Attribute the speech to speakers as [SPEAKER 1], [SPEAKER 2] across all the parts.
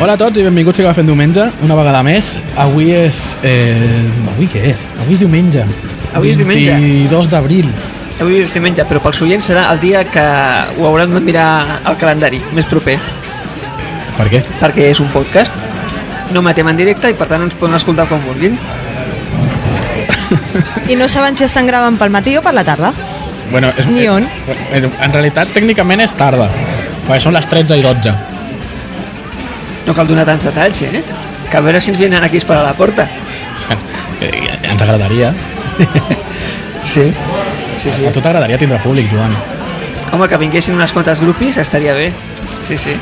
[SPEAKER 1] Hola a tots i benvinguts a Cafè en Diumenge, una vegada més. Avui és... Eh, avui què és? Avui és diumenge.
[SPEAKER 2] Avui és diumenge.
[SPEAKER 1] 22 d'abril.
[SPEAKER 2] Avui és diumenge, però pels oients serà el dia que ho hauran de mirar al calendari més proper,
[SPEAKER 1] Per què?
[SPEAKER 2] perquè és un podcast, no matem en directe i per tant ens poden escoltar quan vulguin.
[SPEAKER 3] I no saben si estan gravant pel matí o per la tarda.
[SPEAKER 1] Bueno, és,
[SPEAKER 3] Ni on.
[SPEAKER 1] eh, En realitat, tècnicament és tarda. Perquè són les 13 i 12.
[SPEAKER 2] No cal donar tants detalls, eh? Que a veure si ens venen aquí a esperar a la porta.
[SPEAKER 1] Eh, Ens agradaria.
[SPEAKER 2] Sí. Sí, sí.
[SPEAKER 1] A tu t'agradaria tindre públic, Joan.
[SPEAKER 2] Home, que vinguessin unes quantes grupis estaria bé. Sí, sí.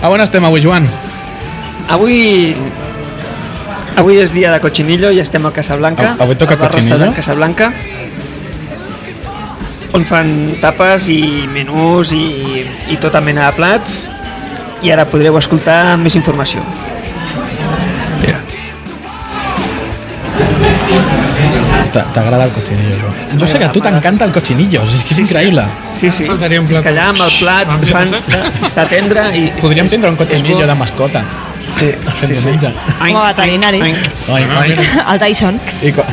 [SPEAKER 1] A on estem avui, Joan?
[SPEAKER 2] Avui... Avui és dia de cochinillo i estem a Casablanca.
[SPEAKER 1] Av- avui toca
[SPEAKER 2] al bar
[SPEAKER 1] cochinillo?
[SPEAKER 2] restaurant Casablanca. On fan tapes i menús i, i tota mena de plats. I ara podreu escoltar més informació.
[SPEAKER 1] T'a- T'agrada el cochinillo, Joan. Jo sé que a tu
[SPEAKER 2] M'agrada.
[SPEAKER 1] t'encanta el cochinillo, és que és increïble.
[SPEAKER 2] Sí, sí.
[SPEAKER 4] Faltaria un
[SPEAKER 2] És
[SPEAKER 4] plat.
[SPEAKER 2] que allà amb el plat
[SPEAKER 4] Vam fer
[SPEAKER 2] fan...
[SPEAKER 4] passar.
[SPEAKER 2] Està tendre i...
[SPEAKER 1] Podríem tindre un
[SPEAKER 2] és
[SPEAKER 1] cochinillo
[SPEAKER 2] bo.
[SPEAKER 1] de mascota.
[SPEAKER 2] Sí, sí, sí.
[SPEAKER 1] Diumenge.
[SPEAKER 2] Ai,
[SPEAKER 3] Com a veterinaris.
[SPEAKER 2] ai, ai.
[SPEAKER 1] Oi, oi.
[SPEAKER 3] El Tyson.
[SPEAKER 1] I quan...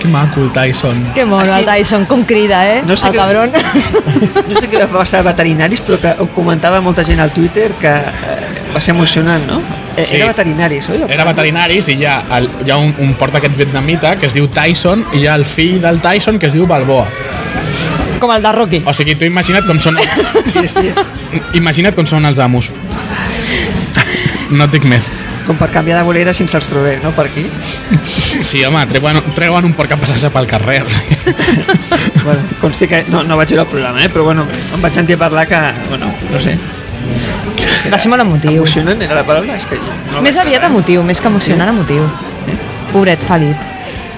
[SPEAKER 1] Que maco el Tyson.
[SPEAKER 3] Que mono,
[SPEAKER 2] Ah, sí?
[SPEAKER 3] el Tyson, com crida, eh?
[SPEAKER 2] No sé
[SPEAKER 3] el
[SPEAKER 2] què-
[SPEAKER 3] cabron.
[SPEAKER 2] No sé què va passar a veterinaris, però que ho comentava molta gent al Twitter que eh, va ser emocionant, no? Eh,
[SPEAKER 1] Sí.
[SPEAKER 2] Era veterinaris, oi?
[SPEAKER 1] Era veterinaris i hi ha, el, hi ha un, un porta aquest vietnamita que es diu Tyson i hi ha el fill del Tyson que es diu Balboa.
[SPEAKER 3] com el de Rocky.
[SPEAKER 1] O sigui, tu imagina't com són...
[SPEAKER 2] Sí, sí.
[SPEAKER 1] imagina't com són els amos. No et dic més.
[SPEAKER 2] Com per canviar de bolera sense els trobem, no? Per aquí.
[SPEAKER 1] Sí, home, treuen, treuen un porc a passar-se pel carrer.
[SPEAKER 2] Bueno, consti que no, no vaig veure el programa, eh? Però bueno, em vaig sentir a parlar que... Bueno, no sé.
[SPEAKER 3] Va ser molt emotiu.
[SPEAKER 2] Emocionant era la paraula? És que jo no la
[SPEAKER 3] Més
[SPEAKER 2] vaig
[SPEAKER 3] aviat
[SPEAKER 2] veure.
[SPEAKER 3] emotiu, més que emocionant emotiu. Pobret, Felip.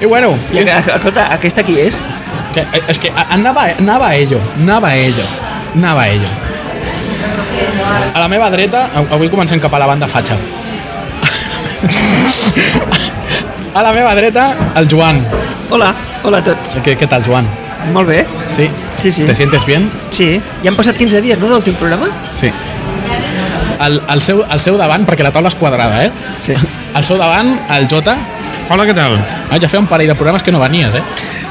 [SPEAKER 1] I bueno,
[SPEAKER 2] I, a- a- escolta, aquesta qui és?
[SPEAKER 1] que, és que anava, anava a ello, anava a ello, anava a ello. A la meva dreta, av- avui comencem cap a la banda fatxa. A la meva dreta, el Joan.
[SPEAKER 2] Hola, hola a tots.
[SPEAKER 1] Què, què tal, Joan?
[SPEAKER 2] Molt bé.
[SPEAKER 1] Sí?
[SPEAKER 2] Sí, sí.
[SPEAKER 1] ¿Te sientes bien?
[SPEAKER 2] Sí, ja han passat 15 dies, no, de l'últim programa?
[SPEAKER 1] Sí. Al, al, seu, al seu davant, perquè la taula és quadrada, eh?
[SPEAKER 2] Sí.
[SPEAKER 1] Al seu davant, el Jota.
[SPEAKER 4] Hola, què tal?
[SPEAKER 1] Ah, ja feia un parell de programes que no venies, eh?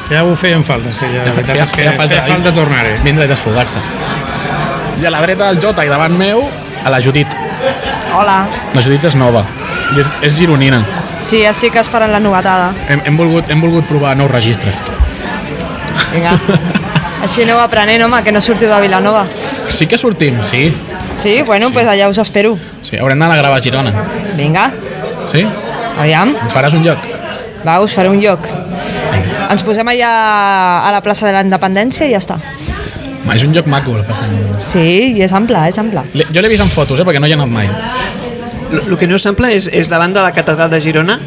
[SPEAKER 4] Ja ho feien falta, sí, ja, la veritat és que feia falta, feia falta tornar-hi.
[SPEAKER 1] Vindre i desfogar-se. I a la dreta del Jota i davant meu, a la Judit.
[SPEAKER 3] Hola.
[SPEAKER 1] La Judit és nova. I és, és gironina.
[SPEAKER 3] Sí, estic esperant la novetada.
[SPEAKER 1] Hem, hem, volgut, hem volgut provar nous registres.
[SPEAKER 3] Vinga. Així aneu aprenent, home, que no sortiu de Vilanova.
[SPEAKER 1] Sí que sortim, sí.
[SPEAKER 3] Sí? Bueno, doncs pues allà us espero.
[SPEAKER 1] sí haurem d'anar a gravar a Girona.
[SPEAKER 3] Vinga,
[SPEAKER 1] Sí?
[SPEAKER 3] aviam.
[SPEAKER 1] Ens faràs un lloc?
[SPEAKER 3] Va, us faré un lloc. Ens posem allà a la plaça de la Independència i ja està.
[SPEAKER 1] Ma, és un lloc maco, el passant.
[SPEAKER 3] Sí, i és ample, és ample.
[SPEAKER 1] Le- Jo l'he vist en fotos, eh, perquè no hi he anat mai.
[SPEAKER 2] El que no s'ampla és, és davant de la catedral de Girona,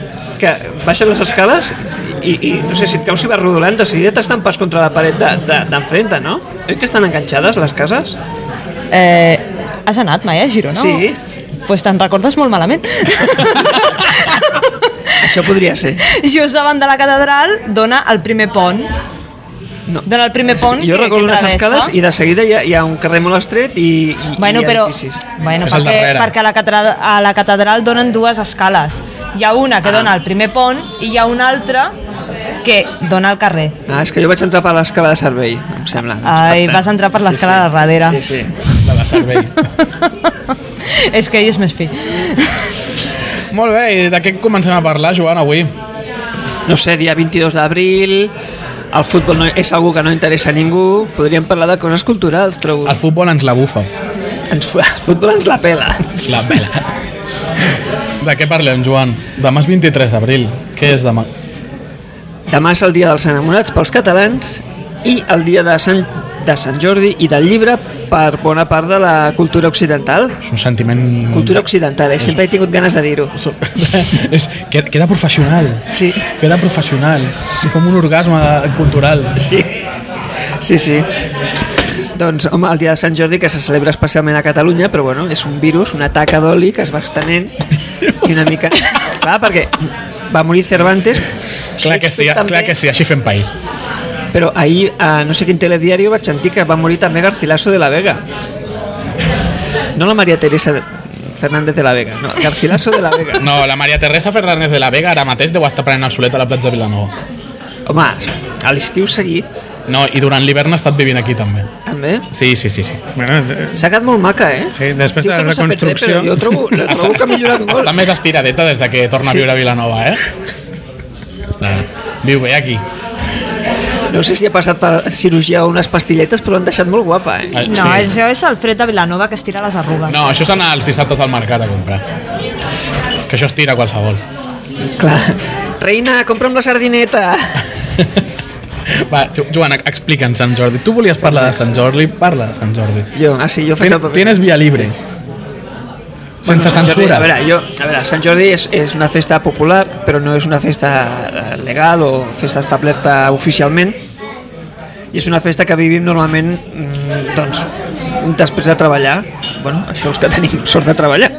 [SPEAKER 2] que baixen les escales i, i no sé, si et caus i vas rodolant, de seguida t'estampes contra la paret de- de- d'enfrente, de, no? Oi que estan enganxades les cases?
[SPEAKER 3] Eh, has anat mai a Girona?
[SPEAKER 2] Sí.
[SPEAKER 3] Doncs pues te'n recordes molt malament.
[SPEAKER 2] Això podria ser.
[SPEAKER 3] Just davant de la catedral dona el primer pont.
[SPEAKER 2] No.
[SPEAKER 3] Dona el primer pont
[SPEAKER 2] Jo
[SPEAKER 3] que-
[SPEAKER 2] recordo
[SPEAKER 3] que
[SPEAKER 2] les
[SPEAKER 3] travessa.
[SPEAKER 2] escales i de seguida hi ha, hi ha un carrer molt estret i, i,
[SPEAKER 3] Bueno,
[SPEAKER 2] i hi ha
[SPEAKER 3] però,
[SPEAKER 2] edificis.
[SPEAKER 3] bueno,
[SPEAKER 1] És el
[SPEAKER 3] perquè,
[SPEAKER 1] darrere.
[SPEAKER 3] perquè a, la catedral, a la catedral donen dues escales. Hi ha una
[SPEAKER 2] Ah.
[SPEAKER 3] que dona el primer pont i hi ha una altra que dona al carrer.
[SPEAKER 2] Ah, és que jo vaig entrar per l'escala de servei, em sembla. doncs,
[SPEAKER 3] Ai,
[SPEAKER 2] per tant.
[SPEAKER 3] vas entrar per l'escala de darrere.
[SPEAKER 2] Sí, sí.
[SPEAKER 1] La de servei.
[SPEAKER 3] És que ell és més fi.
[SPEAKER 2] Eh,
[SPEAKER 1] Molt bé, i de què comencem a parlar, Joan, avui?
[SPEAKER 2] No sé, dia 22 d'abril, el futbol no, és algú que no interessa a ningú, podríem parlar de coses culturals, trobo.
[SPEAKER 1] El futbol ens la bufa.
[SPEAKER 2] Ens, el futbol ens la pela.
[SPEAKER 1] Ens La vela. De què parlem, Joan? Demà és 23 d'abril. Què és demà?
[SPEAKER 2] Demà és el dia dels enamorats pels catalans i el dia de Sant, de Sant Jordi i del llibre per bona part de la cultura occidental.
[SPEAKER 1] És un sentiment...
[SPEAKER 2] Cultura occidental, eh? sempre he tingut ganes de dir-ho.
[SPEAKER 1] és, queda, queda professional.
[SPEAKER 2] Sí,
[SPEAKER 1] Queda professional. És com un orgasme cultural.
[SPEAKER 2] sí, sí, sí. Doncs, home, el dia de Sant Jordi, que se celebra especialment a Catalunya, però bueno, és un virus, una taca d'oli que es va extenent i una mica... Clar, perquè va morir Cervantes...
[SPEAKER 1] Clar que sí,
[SPEAKER 2] Shakespeare també,
[SPEAKER 1] clar que sí, així fem país.
[SPEAKER 2] Però ahir, a no sé quin telediari, vaig sentir que va morir també Garcilaso de la Vega. No la Maria Teresa Fernández de la Vega, no, Garcilaso de la Vega.
[SPEAKER 1] No, la Maria Teresa Fernández de la Vega ara mateix deu estar prenent el solet a la platja de Vilanova.
[SPEAKER 2] Home, a l'estiu seguit,
[SPEAKER 1] No, i durant l'hivern ha estat vivint aquí també.
[SPEAKER 2] també.
[SPEAKER 1] Sí, sí, sí, sí.
[SPEAKER 4] Bueno, eh,
[SPEAKER 2] S'ha quedat molt maca, eh?
[SPEAKER 4] sí, després
[SPEAKER 2] Diu
[SPEAKER 4] de
[SPEAKER 2] que
[SPEAKER 4] la
[SPEAKER 2] no s'ha fet res,
[SPEAKER 4] reconstrucció...
[SPEAKER 2] però jo trobo, la trobo que ha millorat molt.
[SPEAKER 1] Està més estiradeta des de que torna a viure a Vilanova, eh? Està... Viu bé aquí.
[SPEAKER 2] No sé si ha passat per cirurgia o unes pastilletes, però l'han deixat molt guapa, eh?
[SPEAKER 1] Ah,
[SPEAKER 3] No, sí. això és el fred de Vilanova que es tira les arrugues.
[SPEAKER 1] No, això és anar els dissabtes al mercat a comprar. Que això es tira a qualsevol.
[SPEAKER 2] Clar. Reina, compra'm la sardineta.
[SPEAKER 1] Va, Ju- Joan, explica'n Sant Jordi. Tu volies parlar de Sant Jordi, parla de Sant Jordi.
[SPEAKER 2] Jo, ah, sí, jo faig
[SPEAKER 1] Tien,
[SPEAKER 2] el paper.
[SPEAKER 1] tienes via libre.
[SPEAKER 2] Bueno,
[SPEAKER 1] Sense
[SPEAKER 2] Sant Jordi,
[SPEAKER 1] censura.
[SPEAKER 2] A veure, jo, a veure, Sant Jordi és, és una festa popular, però no és una festa eh, legal o festa establerta oficialment. I és una festa que vivim normalment mm, doncs, després de treballar. Bueno, això els que tenim sort de treballar.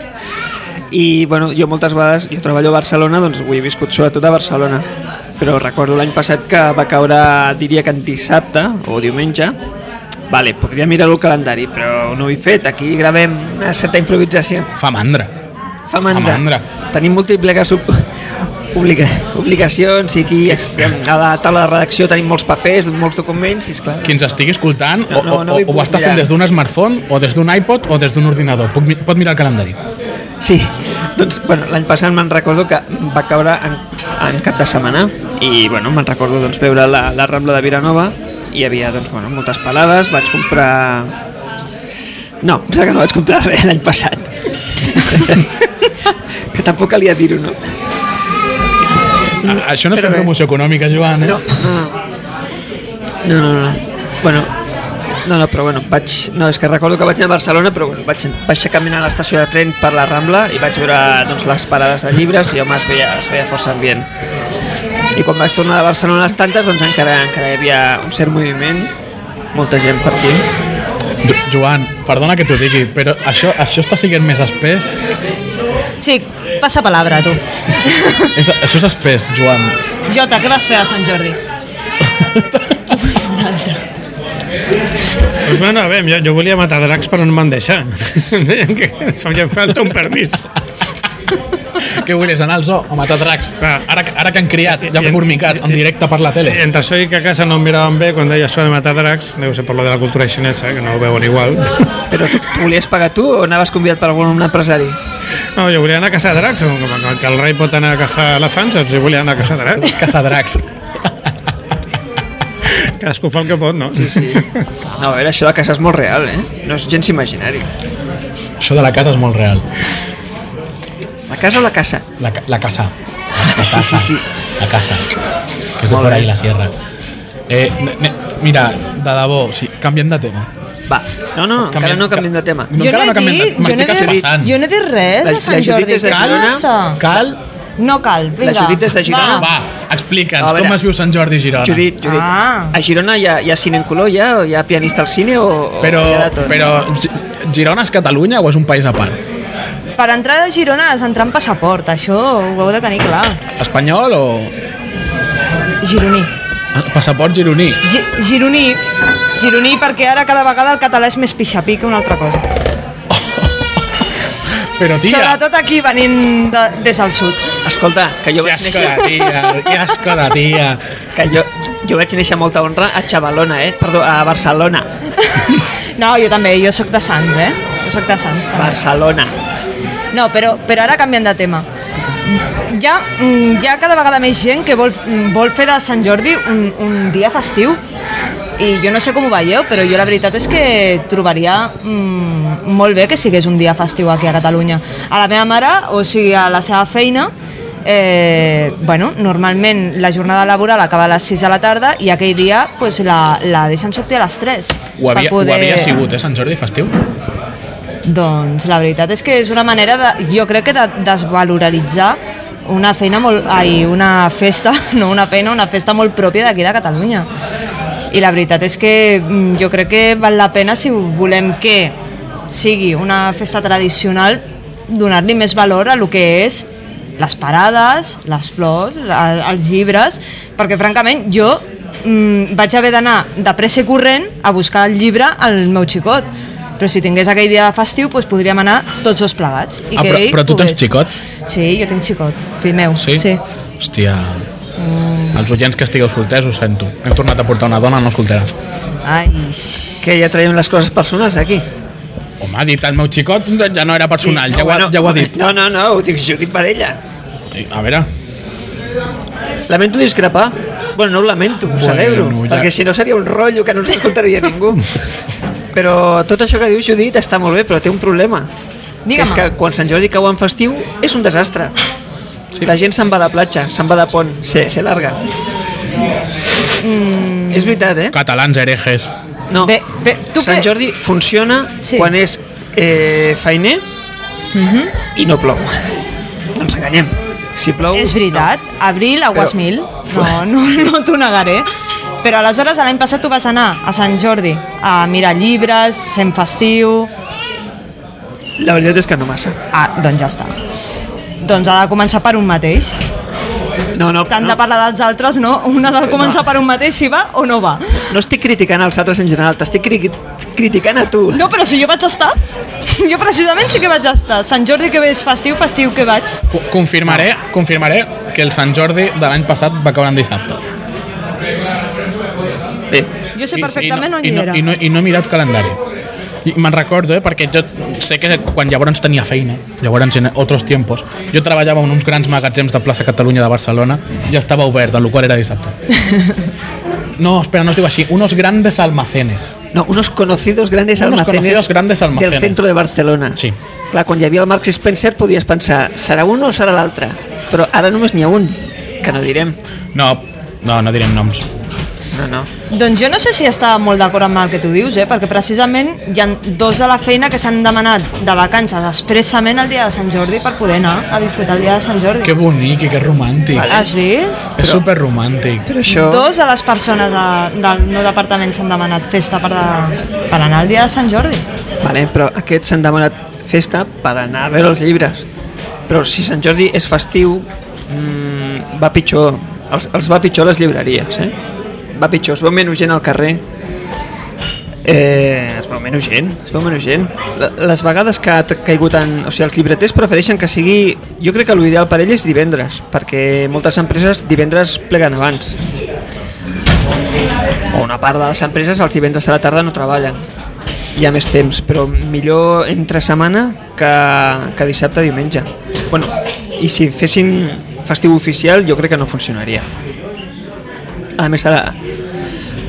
[SPEAKER 2] I bueno, jo moltes vegades, jo treballo a Barcelona, doncs ho he viscut sobretot a Barcelona. Però recordo l'any passat que va caure, diria que en dissabte o diumenge, Vale, podria mirar el calendari, però no ho he fet. Aquí gravem una certa improvisació.
[SPEAKER 1] Fa mandra.
[SPEAKER 2] Fa mandra.
[SPEAKER 1] Fa mandra.
[SPEAKER 2] Tenim múltiples ob... obliga... obligacions i aquí estem a la taula de redacció tenim molts papers, molts documents i esclar...
[SPEAKER 1] Qui ens estigui escoltant
[SPEAKER 2] No,
[SPEAKER 1] o,
[SPEAKER 2] no,
[SPEAKER 1] o,
[SPEAKER 2] no
[SPEAKER 1] o,
[SPEAKER 2] hi
[SPEAKER 1] ho
[SPEAKER 2] puc
[SPEAKER 1] està
[SPEAKER 2] mirar.
[SPEAKER 1] fent des d'un smartphone o des d'un iPod o des d'un ordinador. Puc, mi- pot mirar el calendari.
[SPEAKER 2] Mm. Sí, doncs bueno, l'any passat me'n recordo que va caure en, en cap de setmana i bueno, me'n recordo doncs, veure la, la Rambla de Vilanova i hi havia doncs, bueno, moltes palades, vaig comprar... No, em sembla que no vaig comprar res l'any passat. que tampoc calia dir-ho, no?
[SPEAKER 1] A, això no és
[SPEAKER 2] Però
[SPEAKER 1] fer
[SPEAKER 2] bé.
[SPEAKER 1] promoció econòmica, Joan, eh?
[SPEAKER 2] No, no, no, no, no. Bueno, no, no, però bueno, vaig... No, és que recordo que vaig anar a Barcelona, però bueno, vaig baixar caminant a l'estació de tren per la Rambla i vaig veure doncs, les parades de llibres i home, es veia, es veia força ambient. I quan vaig tornar a Barcelona a les tantes, doncs encara, encara hi havia un cert moviment, molta gent per aquí.
[SPEAKER 1] Jo- Joan, perdona que t'ho digui, però això, això està sent més espès.
[SPEAKER 3] Sí, passa palabra, tu.
[SPEAKER 1] És, això és espès, Joan.
[SPEAKER 3] Jota, què vas fer a Sant Jordi?
[SPEAKER 4] Doncs bueno, a veure, jo, jo volia matar dracs però no em van deixar. Deien que em falta un permís.
[SPEAKER 1] Què volies, anar al zoo a matar dracs?
[SPEAKER 2] Ah.
[SPEAKER 4] Clar.
[SPEAKER 1] Ara, que- ara que han criat, ja
[SPEAKER 4] I-
[SPEAKER 1] han
[SPEAKER 4] i-
[SPEAKER 1] formicat en directe per la tele.
[SPEAKER 2] Eh.
[SPEAKER 4] I Entre això i que a casa no em miraven bé quan deia això de matar dracs, deu ser per lo de la cultura xinesa, que no ho veuen igual.
[SPEAKER 2] Però tu, tu volies pagar tu o anaves convidat per algun empresari?
[SPEAKER 4] No, jo volia anar a caçar dracs, com que, que el rei pot anar a caçar elefants, doncs jo volia anar a caçar
[SPEAKER 1] Tu
[SPEAKER 4] dracs.
[SPEAKER 1] vas caçar dracs.
[SPEAKER 4] Cadascú fa el que pot, no? Sí,
[SPEAKER 2] Sí. No, a veure, això de casa és molt real, eh? No és gens imaginari.
[SPEAKER 1] Això de la casa és molt real.
[SPEAKER 2] La casa o la casa?
[SPEAKER 1] La, ca- la casa. La
[SPEAKER 2] Sí,
[SPEAKER 1] casa.
[SPEAKER 2] sí, sí.
[SPEAKER 1] La casa. Que és de
[SPEAKER 2] Molt
[SPEAKER 1] por ahí
[SPEAKER 2] bé.
[SPEAKER 1] la sierra. Eh, ne, ne, mira, de debò, sí, canviem de tema.
[SPEAKER 2] Va, no, no, encara no canviem de tema.
[SPEAKER 1] No, encara no canviem de- m'estic
[SPEAKER 3] dit,
[SPEAKER 1] assumassant.
[SPEAKER 3] jo no he dit res
[SPEAKER 2] La-
[SPEAKER 3] de Sant
[SPEAKER 2] la Judit
[SPEAKER 3] Jordi.
[SPEAKER 2] és de
[SPEAKER 3] Què
[SPEAKER 2] Girona?
[SPEAKER 3] passa?
[SPEAKER 1] Cal?
[SPEAKER 3] No cal, vinga.
[SPEAKER 2] Judit és de Girona?
[SPEAKER 1] Va, explica'ns,
[SPEAKER 2] A veure.
[SPEAKER 1] com es viu Sant Jordi a Girona?
[SPEAKER 2] Judit, Judit,
[SPEAKER 3] Ah.
[SPEAKER 2] a Girona hi ha, hi ha cine en color ja? O hi ha pianista al cine o, o
[SPEAKER 1] Però,
[SPEAKER 2] hi ha de tot?
[SPEAKER 1] però Gi- Girona és Catalunya o és un país a part?
[SPEAKER 3] Per entrar a Girona has d'entrar amb passaport, això ho heu de tenir clar.
[SPEAKER 1] Espanyol o
[SPEAKER 3] Gironí.
[SPEAKER 1] passaport gironí?
[SPEAKER 3] Gi gironí. Gironí perquè ara cada vegada el català és més pixapí que una altra cosa.
[SPEAKER 1] Però tia,
[SPEAKER 3] Sobretot aquí venint de, des del sud.
[SPEAKER 2] Escolta, que jo,
[SPEAKER 1] que
[SPEAKER 2] vaig
[SPEAKER 1] asco
[SPEAKER 2] néixer,
[SPEAKER 1] de tia, que asco de tia.
[SPEAKER 2] que jo, jo vaig néixer a molta honra a Xavalona, eh? Perdó, a Barcelona.
[SPEAKER 3] No, jo també, jo sóc de Sants, eh? Jo sóc de Sants, també.
[SPEAKER 2] Barcelona.
[SPEAKER 3] No, però, però ara canviant de tema. Hi ha, mm, hi ha cada vegada més gent que vol, mm, vol fer de Sant Jordi un, un dia festiu i jo no sé com ho veieu, però jo la veritat és que trobaria mm, molt bé que sigués un dia festiu aquí a Catalunya. A la meva mare, o sigui, a la seva feina, eh, bueno, normalment la jornada laboral acaba a les 6 de la tarda i aquell dia pues, la, la deixen sortir a les 3.
[SPEAKER 1] Ho havia, ho havia sigut, eh, Sant Jordi festiu?
[SPEAKER 3] Doncs la veritat és que és una manera, de, jo crec que de desvaloralitzar una feina molt, ai, una festa, no una feina, una festa molt pròpia d'aquí de Catalunya. I la veritat és que mm, jo crec que val la pena si volem que sigui una festa tradicional donar-li més valor a lo que és les parades, les flors, la, els llibres, perquè francament jo mm, vaig haver d'anar de pressa i corrent a buscar el llibre al meu xicot Però si tingués aquell dia festiu, doncs podríem anar tots dos plegats. I
[SPEAKER 1] Ah,
[SPEAKER 3] que
[SPEAKER 1] però,
[SPEAKER 3] ell
[SPEAKER 1] però tu tens
[SPEAKER 3] pogués.
[SPEAKER 1] xicot?
[SPEAKER 3] Sí, jo tinc xicot, fill meu.
[SPEAKER 1] Sí?
[SPEAKER 3] sí.
[SPEAKER 1] Hòstia... Els oients que estigueu solters ho sento. Hem tornat a portar una dona no soltera.
[SPEAKER 3] Ai,
[SPEAKER 2] Que ja traiem les coses personals aquí.
[SPEAKER 1] Home, ha dit el meu xicot, doncs ja no era personal, ja, ho ha,
[SPEAKER 2] bueno,
[SPEAKER 1] ja ho ha dit.
[SPEAKER 2] No, no, no, ho dic, jo ho dic per ella.
[SPEAKER 1] Sí, A veure,
[SPEAKER 2] Lamento discrepar. Bueno, no ho lamento, ho
[SPEAKER 1] Bueno,
[SPEAKER 2] celebro,
[SPEAKER 1] ja-
[SPEAKER 2] perquè si no seria un rotllo que no ens escoltaria ningú. Però tot això que diu Judit està molt bé, però té un problema. Que és
[SPEAKER 3] Digue'm.
[SPEAKER 2] que quan Sant Jordi cau en festiu és un desastre. Sí. La gent se'n va a la platja, se'n va de pont, se, se larga. Mm. És veritat, eh?
[SPEAKER 1] catalans herejes.
[SPEAKER 2] No.
[SPEAKER 3] Bé, bé, tu
[SPEAKER 2] Sant
[SPEAKER 3] que-
[SPEAKER 2] Jordi funciona
[SPEAKER 3] Sí. Mhm.
[SPEAKER 2] sí. quan és eh, feiner mm -hmm. i no plou. No ens enganyem. Si plou...
[SPEAKER 3] és veritat. Abril a Guasmil.
[SPEAKER 2] Però-
[SPEAKER 3] No, no, no t'ho negaré. Però aleshores l'any passat tu vas anar a Sant Jordi a mirar llibres, sent festiu...
[SPEAKER 2] No. La veritat és que no massa.
[SPEAKER 3] Ah, doncs ja està. Doncs ha de començar per un mateix.
[SPEAKER 2] No, no,
[SPEAKER 3] Tant
[SPEAKER 2] no.
[SPEAKER 3] de parlar dels altres, no? Un ha de començar per un mateix si va o no va.
[SPEAKER 2] No estic criticant als altres en general, t'estic cri criticant a tu.
[SPEAKER 3] No, però si jo vaig estar, jo precisament sí que vaig estar. Sant Jordi que ve és festiu, festiu que vaig.
[SPEAKER 1] Co- Confirmaré, confirmaré que el Sant Jordi de l'any passat va caure en dissabte.
[SPEAKER 2] Bé,
[SPEAKER 3] Jo sé
[SPEAKER 1] I- i
[SPEAKER 3] perfectament
[SPEAKER 1] no,
[SPEAKER 3] on hi era.
[SPEAKER 1] I no, i no, I no he mirat calendari. I Me'n recordo, eh, perquè jo sé que quan llavors tenia feina, llavors en otros tiempos, jo treballava en uns grans magatzems de plaça Catalunya de Barcelona i estava obert, el qual era dissabte. No, espera, no es diu així. Unos grandes almacenes.
[SPEAKER 2] no, unos conocidos grandes
[SPEAKER 1] Unos
[SPEAKER 2] almacenes,
[SPEAKER 1] conocidos grandes almacenes.
[SPEAKER 2] del centro de Barcelona.
[SPEAKER 1] Sí.
[SPEAKER 2] Clar, quan hi havia el Marx Spencer podies pensar, serà un o serà l'altre? Però ara només n'hi ha un, que no direm.
[SPEAKER 1] No, no, no direm noms.
[SPEAKER 2] No, no.
[SPEAKER 3] Doncs jo no sé si estava molt d'acord amb el que tu dius, eh? perquè precisament hi ha dos de la feina que s'han demanat de vacances expressament el dia de Sant Jordi per poder anar a disfrutar el dia de Sant Jordi.
[SPEAKER 1] Que bonic i que romàntic. Vale.
[SPEAKER 3] Has vist?
[SPEAKER 2] Ah,
[SPEAKER 1] És superromàntic.
[SPEAKER 2] Però això...
[SPEAKER 3] Dos de les persones de, del meu departament s'han demanat festa per, de, per anar al dia de Sant Jordi.
[SPEAKER 2] Vale, però aquests s'han demanat festa per anar a veure els llibres. Però si Sant Jordi és festiu, mmm, va pitjor. Els, els va pitjor a les llibreries, eh? Va pitjor, es veu menys gent al carrer. Eh, es veu menys gent, es veu menys gent. La- Les vegades que ha t- caigut en... O sigui, els llibreters prefereixen que sigui... Jo crec que l'ideal per ell és divendres, perquè moltes empreses divendres pleguen abans. O una part de les empreses els divendres a la tarda no treballen hi ha més temps, però millor entre setmana que, que dissabte diumenge. Bueno, i si fessin festiu oficial jo crec que no funcionaria. A més ara,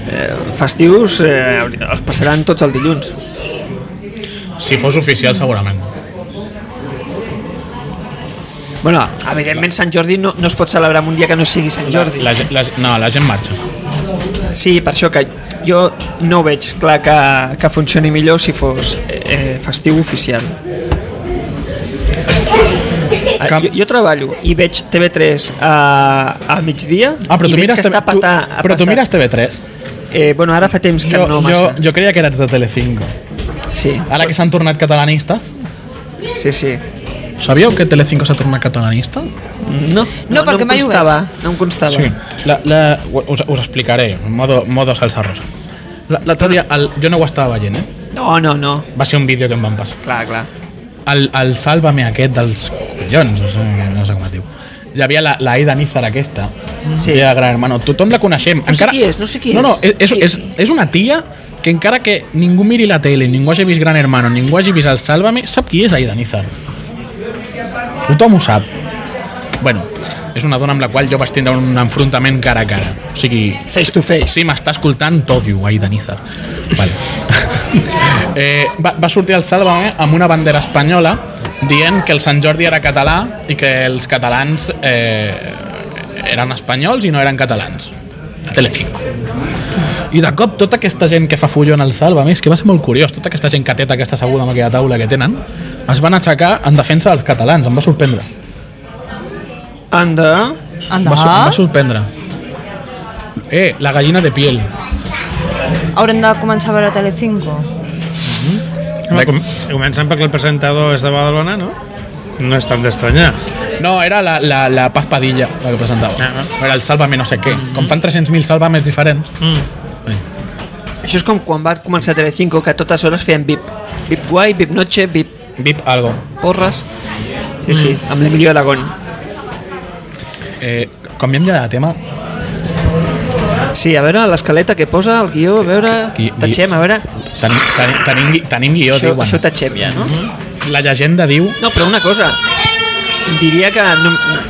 [SPEAKER 2] eh, festius eh, els passaran tots el dilluns.
[SPEAKER 1] Si fos oficial, segurament.
[SPEAKER 2] Bueno, evidentment Sant Jordi no, no es pot celebrar en un dia que no sigui Sant Jordi.
[SPEAKER 1] La, la, no, la gent marxa.
[SPEAKER 2] Sí, per això que jo no veig clar que, que funcioni millor si fos eh, eh, festiu oficial. Ah,
[SPEAKER 1] Cap-
[SPEAKER 2] Jo, jo treballo i veig TV3 a, a migdia
[SPEAKER 1] Ah, però
[SPEAKER 2] i
[SPEAKER 1] tu
[SPEAKER 2] veig
[SPEAKER 1] mires,
[SPEAKER 2] que està
[SPEAKER 1] TV, tu,
[SPEAKER 2] patat,
[SPEAKER 1] però tu mires TV3.
[SPEAKER 2] Eh, bueno, ara fa temps que
[SPEAKER 1] Jo,
[SPEAKER 2] no
[SPEAKER 1] jo,
[SPEAKER 2] massa.
[SPEAKER 1] jo creia que eres de Telecinco.
[SPEAKER 2] Sí,
[SPEAKER 1] Ara que s'han tornat catalanistes,
[SPEAKER 2] sí, sí.
[SPEAKER 1] sabíeu que Telecinco s'ha tornat catalanista?
[SPEAKER 2] No,
[SPEAKER 3] No, perquè
[SPEAKER 2] em
[SPEAKER 3] mai ho
[SPEAKER 2] constava, No em constava.
[SPEAKER 1] Sí. La, la, us, us explicaré, en modo, modo salsa rosa. La- L'altre dia, el, jo no ho estava veient, eh?
[SPEAKER 2] No, no, no.
[SPEAKER 1] Va ser un vídeo que em van passar.
[SPEAKER 2] Clar, clar.
[SPEAKER 1] El, el Sálvame aquest dels collons, no sé, no sé com es diu. Hi havia la, la Aida Nízar aquesta, sí.
[SPEAKER 2] Sí.
[SPEAKER 1] de Gran Hermano. Tothom la coneixem.
[SPEAKER 2] sé qui és, Mm. no sé qui
[SPEAKER 1] No, no,
[SPEAKER 2] és.
[SPEAKER 1] és, és,
[SPEAKER 2] Qui-
[SPEAKER 1] és, és una tia que encara que ningú miri la tele, ningú hagi vist Gran Hermano, ningú hagi vist el Sálvame, sap qui és Aida Nízar. Tothom ho sap. Bueno, és una dona amb la qual jo vaig tindre un enfrontament cara a cara. O sigui,
[SPEAKER 2] Face to face.
[SPEAKER 1] si m'està escoltant, t'odio, Aida Nízar. Vale. eh, va, va sortir el Sálvame amb una bandera espanyola dient que el Sant Jordi era català i que els catalans eh, eren espanyols i no eren catalans. A Telecinco. I de cop tota aquesta gent que fa fullon al Sálvame, és que va ser molt curiós, tota aquesta gent que teta aquesta asseguda amb aquella taula que tenen, es van aixecar en defensa dels catalans, em va sorprendre.
[SPEAKER 2] Anda.
[SPEAKER 1] Em
[SPEAKER 3] Anda,
[SPEAKER 1] va, sor- em va sorprendre. Eh, la gallina de piel.
[SPEAKER 3] haurem de començar a veure Telecinco.
[SPEAKER 4] Home, com, començant perquè el presentador és de Badalona, no? No és tan d'estranyar.
[SPEAKER 1] No, era la, la, la Paz Padilla la que presentava.
[SPEAKER 4] Ah,
[SPEAKER 1] Era el Sálvame no sé què. Com fan 300.000 Sálvames diferents.
[SPEAKER 4] Mm.
[SPEAKER 1] Sí.
[SPEAKER 2] Això és com quan va començar Telecinco, que a totes hores feien VIP. Vip Guai, Vip Noche, Vip
[SPEAKER 4] Mm.
[SPEAKER 1] Vip algo.
[SPEAKER 2] Porres. Sí, sí,
[SPEAKER 1] Mm.
[SPEAKER 2] amb l'Emilio Aragón.
[SPEAKER 1] Eh, canviem ja de tema.
[SPEAKER 2] Sí, a veure, l'escaleta que posa, el guió, a veure...
[SPEAKER 1] Qui- qui-
[SPEAKER 2] Tatxem, a veure...
[SPEAKER 1] Ten, ten, tenim, gui- tenim guió,
[SPEAKER 2] Això,
[SPEAKER 1] diuen.
[SPEAKER 2] això tatxem ja, no?
[SPEAKER 1] La llegenda diu...
[SPEAKER 2] No, però una cosa, diria que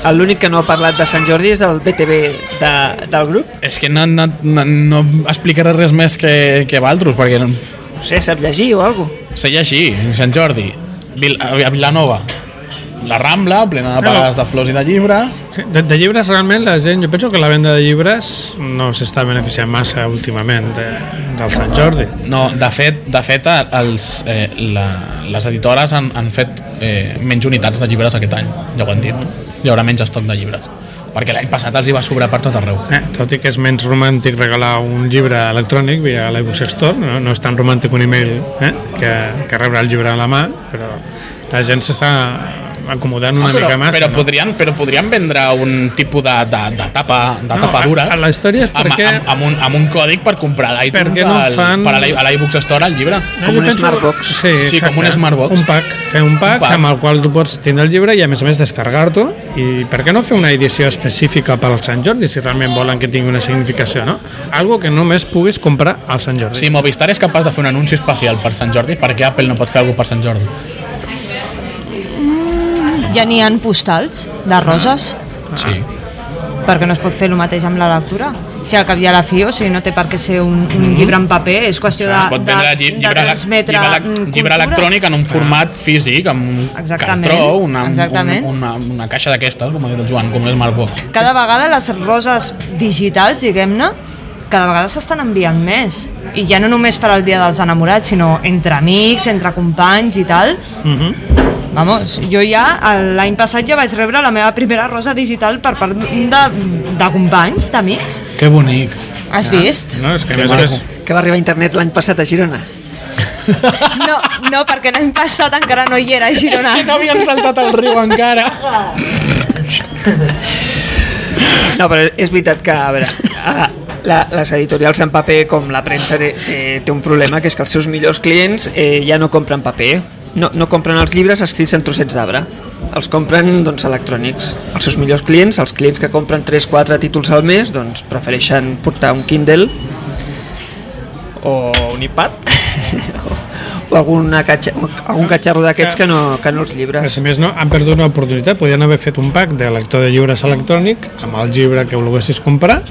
[SPEAKER 2] no, l'únic que no ha parlat de Sant Jordi és del BTV de, del grup.
[SPEAKER 1] És que no, no, no, no explicaré res més que, que Valtros, perquè no,
[SPEAKER 2] No sé, sap llegir o alguna cosa.
[SPEAKER 1] se així, Sant Jordi, Vil, a Vilanova, la Rambla, plena de
[SPEAKER 4] No.
[SPEAKER 1] parades de flors i de llibres,
[SPEAKER 4] Sí, De, de llibres realment la gent, jo penso que la venda de llibres no s'està beneficiant massa últimament de, del Sant Jordi.
[SPEAKER 1] No, de fet, de fet eh, els, eh, la, les editores han, han fet eh, menys unitats de llibres aquest any, ja ho han dit. Hi haurà menys estoc de llibres, perquè l'any passat els hi va sobrar per tot arreu.
[SPEAKER 4] Eh, tot i que és menys romàntic regalar un llibre electrònic via l'iBook Store, no, no és tan romàntic un email eh, que, que rebre el llibre a la mà, però la gent s'està acomodant una
[SPEAKER 1] Ah, però,
[SPEAKER 4] mica massa.
[SPEAKER 1] però,
[SPEAKER 4] no?
[SPEAKER 1] podrien, però podrien vendre un tipus de, de, de tapa, de
[SPEAKER 4] No,
[SPEAKER 1] tapa dura
[SPEAKER 4] a- a la història és
[SPEAKER 1] amb,
[SPEAKER 4] perquè-
[SPEAKER 1] amb, amb, un, amb un còdic per comprar a
[SPEAKER 4] Per
[SPEAKER 1] l'iTunes
[SPEAKER 4] què no
[SPEAKER 1] al-
[SPEAKER 4] fan- Ah,
[SPEAKER 1] per a l'i- a l'iBooks Store el llibre.
[SPEAKER 4] No,
[SPEAKER 2] Com
[SPEAKER 4] Eh, jo
[SPEAKER 2] un
[SPEAKER 4] penso-
[SPEAKER 2] Smartbox.
[SPEAKER 4] Sí,
[SPEAKER 1] Sí,
[SPEAKER 4] exacte.
[SPEAKER 1] com un Smartbox.
[SPEAKER 4] Un pack, fer un pack,
[SPEAKER 1] Un pack.
[SPEAKER 4] amb el qual tu pots tindre el llibre i a més a més descarregar-t'ho i per què no fer una edició específica per al Sant Jordi si realment volen que tingui una significació, no? Algo que només puguis comprar al Sant Jordi.
[SPEAKER 1] Si Movistar és capaç de fer un anunci especial per Sant Jordi, per què Apple no pot fer alguna cosa per Sant Jordi?
[SPEAKER 3] Ja n'hi han postals de roses,
[SPEAKER 4] Ah.
[SPEAKER 1] Sí.
[SPEAKER 3] perquè no es pot fer el mateix amb la lectura. Si al cap i a la fi, o sigui, no té per què ser un, un llibre en paper, és qüestió de,
[SPEAKER 1] es pot
[SPEAKER 3] de,
[SPEAKER 1] vendre lli-
[SPEAKER 3] de
[SPEAKER 1] llibre,
[SPEAKER 3] transmetre
[SPEAKER 1] llibre,
[SPEAKER 3] mm,
[SPEAKER 1] llibre,
[SPEAKER 3] cultura. Ah.
[SPEAKER 1] electrònic en un format físic, amb un
[SPEAKER 3] Exactament,
[SPEAKER 1] cartró, una,
[SPEAKER 3] exactament.
[SPEAKER 1] Un, una, una caixa d'aquestes, com ha dit el Joan, com és Marbox.
[SPEAKER 3] Cada vegada les roses digitals, diguem-ne, cada vegada s'estan enviant més. I ja no només per al Dia dels Enamorats, sinó entre amics, entre companys i tal.
[SPEAKER 4] Uh -huh.
[SPEAKER 3] Vamos, jo ja el- l'any passat ja vaig rebre la meva primera rosa digital per part de, de companys, d'amics.
[SPEAKER 1] Que bonic.
[SPEAKER 3] Has vist?
[SPEAKER 4] No, és que a
[SPEAKER 1] Que
[SPEAKER 4] més a
[SPEAKER 1] maco.
[SPEAKER 4] més...
[SPEAKER 2] Que va arribar a internet l'any passat a Girona.
[SPEAKER 3] No, no, perquè l'any passat encara no hi era a Girona.
[SPEAKER 1] havien saltat al riu encara.
[SPEAKER 2] No, però és veritat que, a veure, a, la, les editorials en paper com la premsa té, té, té un problema, que és que els seus millors clients eh, ja no compren paper, no, no compren els llibres escrits en trossets d'arbre, els compren doncs, electrònics. Els seus millors clients, els clients que compren 3-4 títols al mes, doncs prefereixen portar un Kindle o un iPad o alguna catxa, algun catxarro d'aquests que, no, que no els
[SPEAKER 4] A
[SPEAKER 2] llibres.
[SPEAKER 4] més, no, han perdut una oportunitat. Podien haver fet un pack de lector de llibres electrònic amb el llibre que volguessis comprar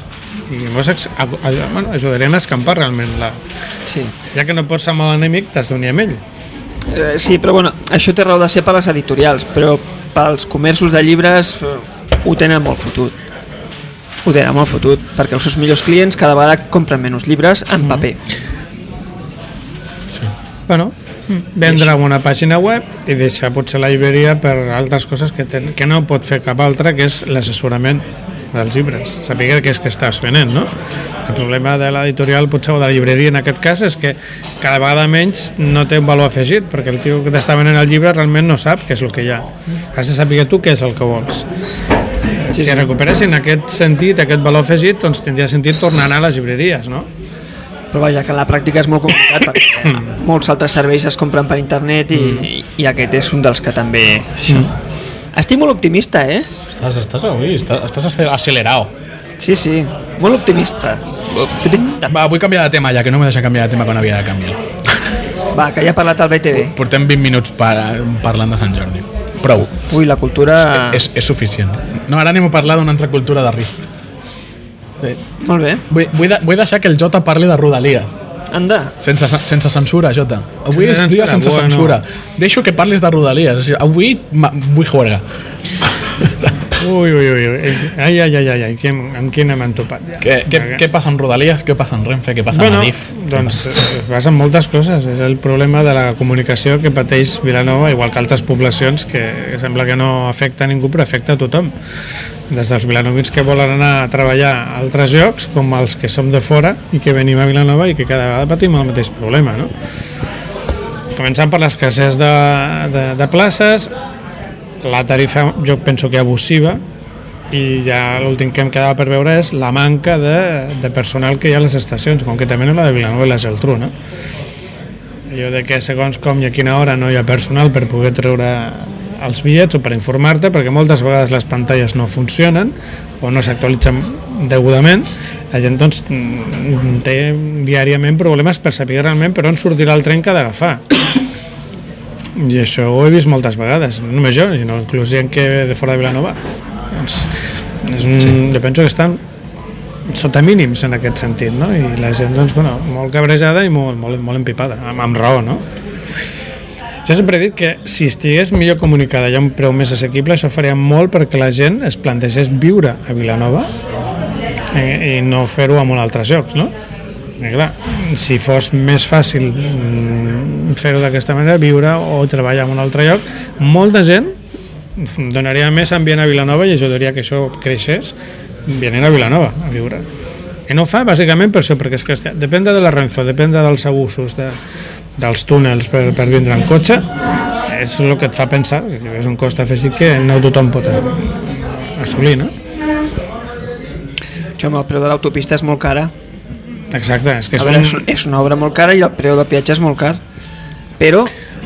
[SPEAKER 4] i llavors ex- a- a- bueno, ajudarien a escampar realment la...
[SPEAKER 2] Sí.
[SPEAKER 4] Ja que no pots amb l'enemic, t'has d'unir amb ell.
[SPEAKER 2] Eh, sí, però bueno, això té raó de ser per les editorials, però pels comerços de llibres eh, ho tenen molt fotut. Ho tenen molt fotut, perquè els seus millors clients cada vegada compren menys llibres en paper.
[SPEAKER 4] Bueno,
[SPEAKER 2] Mm.
[SPEAKER 4] vendre una pàgina web i deixar potser la llibreria per altres coses que, ten, que no pot fer cap altra, que és l'assessorament dels llibres, saber què és que estàs venent, no? El problema de l'editorial potser o de la llibreria en aquest cas és que cada vegada menys no té un valor afegit perquè el tio que t'està venent el llibre realment no sap què és el que hi ha. Has de saber tu què és el que vols.
[SPEAKER 2] Sí,
[SPEAKER 4] Si
[SPEAKER 2] sí.
[SPEAKER 4] recuperessin aquest sentit, aquest valor afegit, doncs tindria sentit tornar a anar a les llibreries, no?
[SPEAKER 2] Però vaja, que en la pràctica és molt complicat, perquè eh, molts altres serveis es compren per internet i, i aquest és un dels que també... Això. Estic molt optimista, eh?
[SPEAKER 1] Estàs, estàs avui, estàs, estàs accelerado.
[SPEAKER 2] Sí, sí, molt optimista. Optimista.
[SPEAKER 1] Va, vull canviar de tema ja, que no m'he deixat canviar de tema quan havia de canviar.
[SPEAKER 2] Va, que ja ha parlat el BTV.
[SPEAKER 1] Portem 20 minuts per, parlant de Sant Jordi. Prou.
[SPEAKER 2] Ui, la cultura...
[SPEAKER 1] És, és suficient. No, ara anem a parlar d'una altra cultura de risc.
[SPEAKER 2] Molt bé.
[SPEAKER 1] Vull, vull, de, vull deixar que el Jota parli de Rodalies.
[SPEAKER 2] Anda.
[SPEAKER 1] Sense, sense censura, Jota. Avui és
[SPEAKER 4] Sense
[SPEAKER 1] dia
[SPEAKER 4] censura,
[SPEAKER 1] sense
[SPEAKER 4] bueno.
[SPEAKER 1] censura. Deixo que parlis de Rodalies. O sigui, Avui ma- vull juerga.
[SPEAKER 4] Ui, ui, ui, ui. Ai, ai, ai, ai, ai. Quin, amb quina m'han topat. Ja.
[SPEAKER 1] Què, què, què passa amb Rodalies? Què passa amb Renfe? Què passa
[SPEAKER 4] bueno,
[SPEAKER 1] amb Adif?
[SPEAKER 4] doncs eh, vas amb moltes coses. És el problema de la comunicació que pateix Vilanova, igual que altres poblacions, que sembla que no afecta a ningú, però afecta a tothom. Des dels vilanovins que volen anar a treballar a altres llocs, com els que som de fora i que venim a Vilanova i que cada vegada patim el mateix problema, no? Començant per l'escassez de, de, de places, la tarifa jo penso que abusiva i ja l'últim que em quedava per veure és la manca de, de personal que hi ha a les estacions, concretament a la de Vilanova i la Geltrú, no? allò de que segons com i a quina hora no hi ha personal per poder treure els bitllets o per informar-te, perquè moltes vegades les pantalles no funcionen o no s'actualitzen degudament, la gent doncs, mm, té diàriament problemes per saber realment per on sortirà el tren que ha d'agafar. I això ho he vist moltes vegades, no només jo, sinó inclús gent que ve de fora de Vilanova. Doncs, és un, sí. Jo penso que estan sota mínims en aquest sentit, no? I la gent, doncs, bueno, molt cabrejada i molt, molt, molt empipada, amb, amb raó, no? Jo sempre he dit que si estigués millor comunicada i a un preu més assequible, això faria molt perquè la gent es plantegés viure a Vilanova eh, i, i no fer-ho en altres llocs, no? I clar, si fos més fàcil mm, fer-ho d'aquesta manera, viure o treballar en un altre lloc, molta gent donaria més ambient a Vilanova i ajudaria que això creixés venint a Vilanova a viure. I no ho fa bàsicament per això, perquè és que hòstia, depèn de la Renfe, depèn dels abusos, de, dels túnels per, per vindre en cotxe, és el que et fa pensar, que és un cost afegit que no tothom pot assolir, no?
[SPEAKER 2] Això amb el preu de l'autopista és molt cara.
[SPEAKER 4] Exacte, és que
[SPEAKER 2] A
[SPEAKER 4] és
[SPEAKER 2] veure, és,
[SPEAKER 4] un...
[SPEAKER 2] és una obra molt cara i el preu del peatge és molt car. Però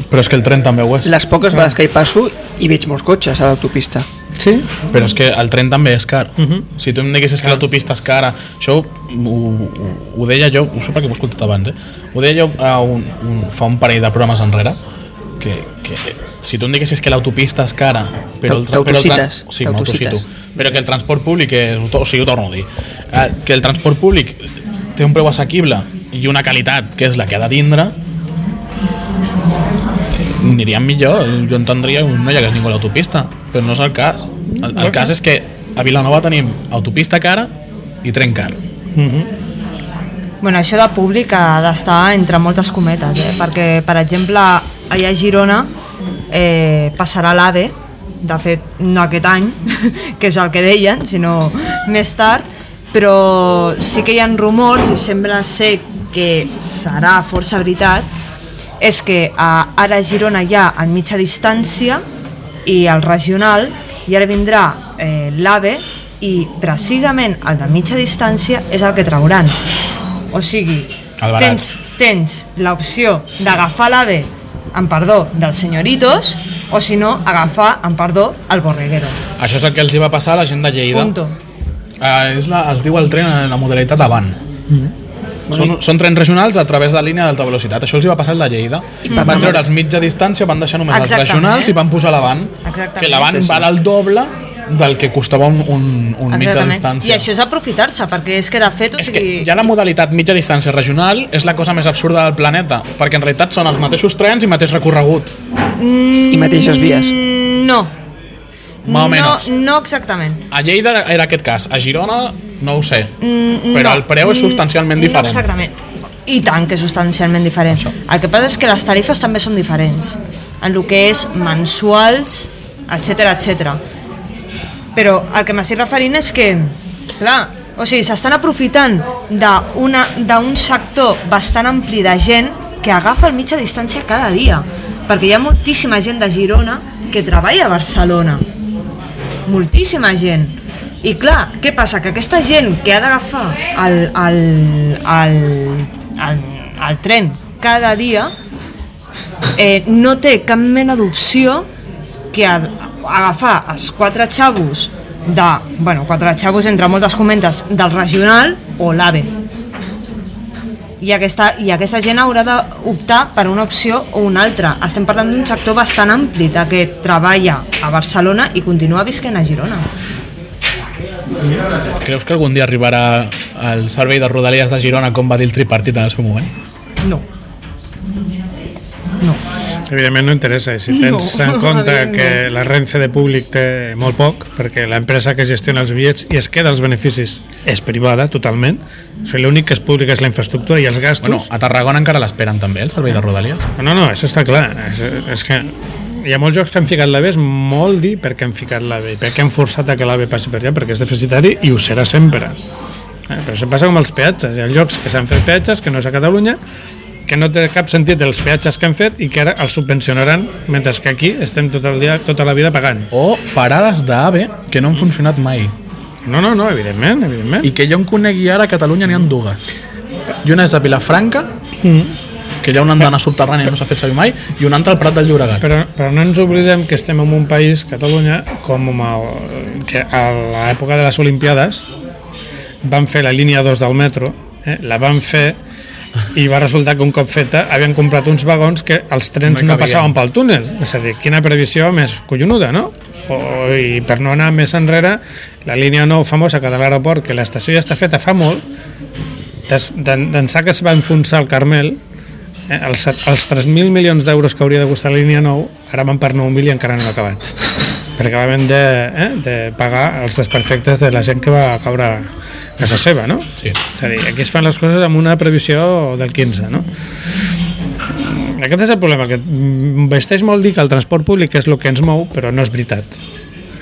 [SPEAKER 1] Però és que el tren també ho és.
[SPEAKER 2] les poques vegades que hi passo hi veig molts cotxes a l'autopista.
[SPEAKER 4] Sí,
[SPEAKER 1] Però és que el tren també és car. Uh
[SPEAKER 4] Mhm.
[SPEAKER 1] -huh. Si tu em diguessis que l'autopista és cara, això ho, ho, ho deia jo, ho sé perquè ho he escoltat abans, eh? ho deia jo a un, un, fa un parell de programes enrere, que, que si tu em diguessis que l'autopista és cara, però... el tra- però el tra-
[SPEAKER 2] T'autocites,
[SPEAKER 1] Sí, m'autocito.
[SPEAKER 2] t'autocites.
[SPEAKER 1] Però que el transport públic és... O sigui, ho torno a dir. Eh, Que el transport públic té un preu assequible i una qualitat que és la que ha de tindre, aniríem millor, jo entendria un no hi hagués ningú a l'autopista, però no és el cas. El, el cas és que a Vilanova tenim autopista cara i tren car.
[SPEAKER 3] Bueno, això de públic ha d'estar entre moltes cometes, eh? perquè, per exemple, allà a Girona eh, passarà l'AVE, de fet, no aquest any, que és el que deien, sinó més tard, però sí que hi ha rumors, i sembla ser que serà força veritat, és que eh, ara a Girona hi ha el mitja distància i el regional, i ara vindrà eh, l'AVE, i precisament el de mitja distància és el que trauran. O sigui,
[SPEAKER 1] El barat.
[SPEAKER 3] tens, tens l'opció d'agafar l'AVE, amb perdó, dels senyoritos, o si no, agafar, amb perdó, el borreguero.
[SPEAKER 1] Això és el que els hi va passar a la gent de Lleida.
[SPEAKER 3] Punto.
[SPEAKER 1] Eh, és la, es diu el tren en la modalitat avant.
[SPEAKER 3] Mm.
[SPEAKER 1] Són, són trens regionals a través de línia d'alta velocitat. Això els hi va passar a la Lleida.
[SPEAKER 2] per
[SPEAKER 1] Van treure els mitja distància, van deixar només els
[SPEAKER 3] Exactament.
[SPEAKER 1] regionals i van posar l'avant.
[SPEAKER 3] Exactament.
[SPEAKER 1] Que l'avant
[SPEAKER 2] Sí,
[SPEAKER 1] sí,
[SPEAKER 2] sí.
[SPEAKER 1] sí. val el doble del que costava un, un, un mitja distància.
[SPEAKER 3] I això és aprofitar-se, perquè és que de fet... O
[SPEAKER 1] És que
[SPEAKER 3] sigui,
[SPEAKER 1] ja la modalitat mitja distància regional és la cosa més absurda del planeta, perquè en realitat són els mateixos trens i mateix recorregut.
[SPEAKER 2] I mateixes vies.
[SPEAKER 3] Mm, No.
[SPEAKER 1] Más o
[SPEAKER 3] no,
[SPEAKER 1] menos.
[SPEAKER 3] no exactament.
[SPEAKER 1] A Lleida era- era aquest cas, a Girona no ho sé,
[SPEAKER 3] Mm,
[SPEAKER 1] però
[SPEAKER 3] no.
[SPEAKER 1] el preu és
[SPEAKER 3] Mm,
[SPEAKER 1] substancialment
[SPEAKER 3] No
[SPEAKER 1] diferent.
[SPEAKER 3] exactament. I tant que és substancialment diferent. El que passa és que les tarifes també són diferents. En el que és mensuals, etc etc. Però el que m'estic referint és que, clar, o sigui, s'estan aprofitant d'una- d'un sector bastant ampli de gent que agafa el mitja distància cada dia, perquè hi ha moltíssima gent de Girona que treballa a Barcelona moltíssima gent. I clar, què passa? Que aquesta gent que ha d'agafar el, el, el, el, el tren cada dia eh, no té cap mena d'opció que a, agafar els quatre xavos de, bueno, quatre xavos entre moltes comentes del regional o l'AVE i aquesta, i aquesta gent haurà d'optar per una opció o una altra. Estem parlant d'un sector bastant ampli de que treballa a Barcelona i continua visquent a Girona.
[SPEAKER 1] Creus que algun dia arribarà el servei de Rodalies de Girona com va dir el tripartit en el seu moment?
[SPEAKER 3] No. No.
[SPEAKER 4] evidentment no interessa. I Si tens
[SPEAKER 3] No,
[SPEAKER 4] en compte
[SPEAKER 3] evidentment
[SPEAKER 4] que la Renfe de públic té molt poc, perquè l'empresa que gestiona els bitllets i es queda els beneficis és privada totalment, o sigui, l'únic que és públic és la infraestructura i els gastos.
[SPEAKER 1] Bueno, a Tarragona encara l'esperen també, el servei de Rodalies.
[SPEAKER 4] No, no, això està clar. És, és que hi ha molts jocs que han ficat l'AVE, és molt dir per què han ficat l'AVE, per què han forçat a que l'AVE passi per allà, perquè és deficitari i ho serà sempre. Eh, però això passa com els peatges. Hi ha llocs que s'han fet peatges, que no és a Catalunya, que no té cap sentit els peatges que han fet i que ara els subvencionaran, mentre que aquí estem tot el dia, tota la vida pagant.
[SPEAKER 1] O parades d'AVE que no han funcionat mai.
[SPEAKER 4] No, no, no, evidentment, evidentment.
[SPEAKER 1] I que jo en conegui ara a Catalunya n'hi ha dues. I una és a Vilafranca que hi ha una andana subterrània que no s'ha fet servir mai, i una altra al Prat del Llobregat.
[SPEAKER 4] Però, però no ens oblidem que estem en un país, Catalunya, com el, que a l'època de les Olimpiades van fer la línia 2 del metro, eh? la van fer i va resultar que un cop feta havien comprat uns vagons que els
[SPEAKER 1] No
[SPEAKER 4] trens no,
[SPEAKER 1] cabien.
[SPEAKER 4] passaven pel túnel és a dir, quina previsió més collonuda no? O, i per no anar més enrere la línia 9 famosa que de l'aeroport que l'estació ja està feta fa molt des- d'en- d'ençà que es va enfonsar el Carmel eh, els, set- els 3.000 milions d'euros que hauria de costar la línia 9 ara van per 9.000 i encara no han acabat perquè va haver de, eh, de pagar els desperfectes de la gent que va caure a casa seva no?
[SPEAKER 1] Sí.
[SPEAKER 4] és a dir, aquí es fan les coses amb una previsió del 15 no? aquest és el problema que mm, vesteix molt dir que el transport públic és el que ens mou però no és veritat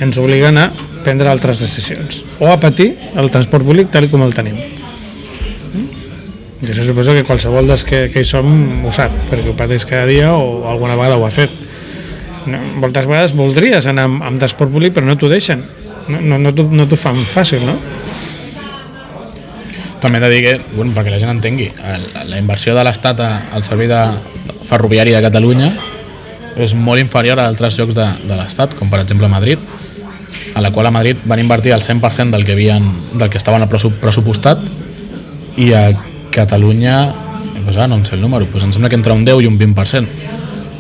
[SPEAKER 4] ens obliguen a prendre altres decisions o a patir el transport públic tal com el tenim jo suposo que qualsevol dels que, que hi som ho sap, perquè ho pateix cada dia o alguna vegada ho ha fet. No, moltes vegades voldries anar amb, amb transport públic però no t'ho deixen, no, no, no t'ho no t'ho fan fàcil, no?
[SPEAKER 1] També he de dir que, bueno, perquè la gent entengui, el- la inversió de l'Estat a- al servei de ferroviari de Catalunya és molt inferior a altres llocs de, de l'Estat, com per exemple Madrid, a la qual a Madrid van invertir el 100% del que, havien, del que estaven al pressu- pressupostat i a Catalunya pues ara no em sé el número, pues em sembla que entre un 10 i un 20%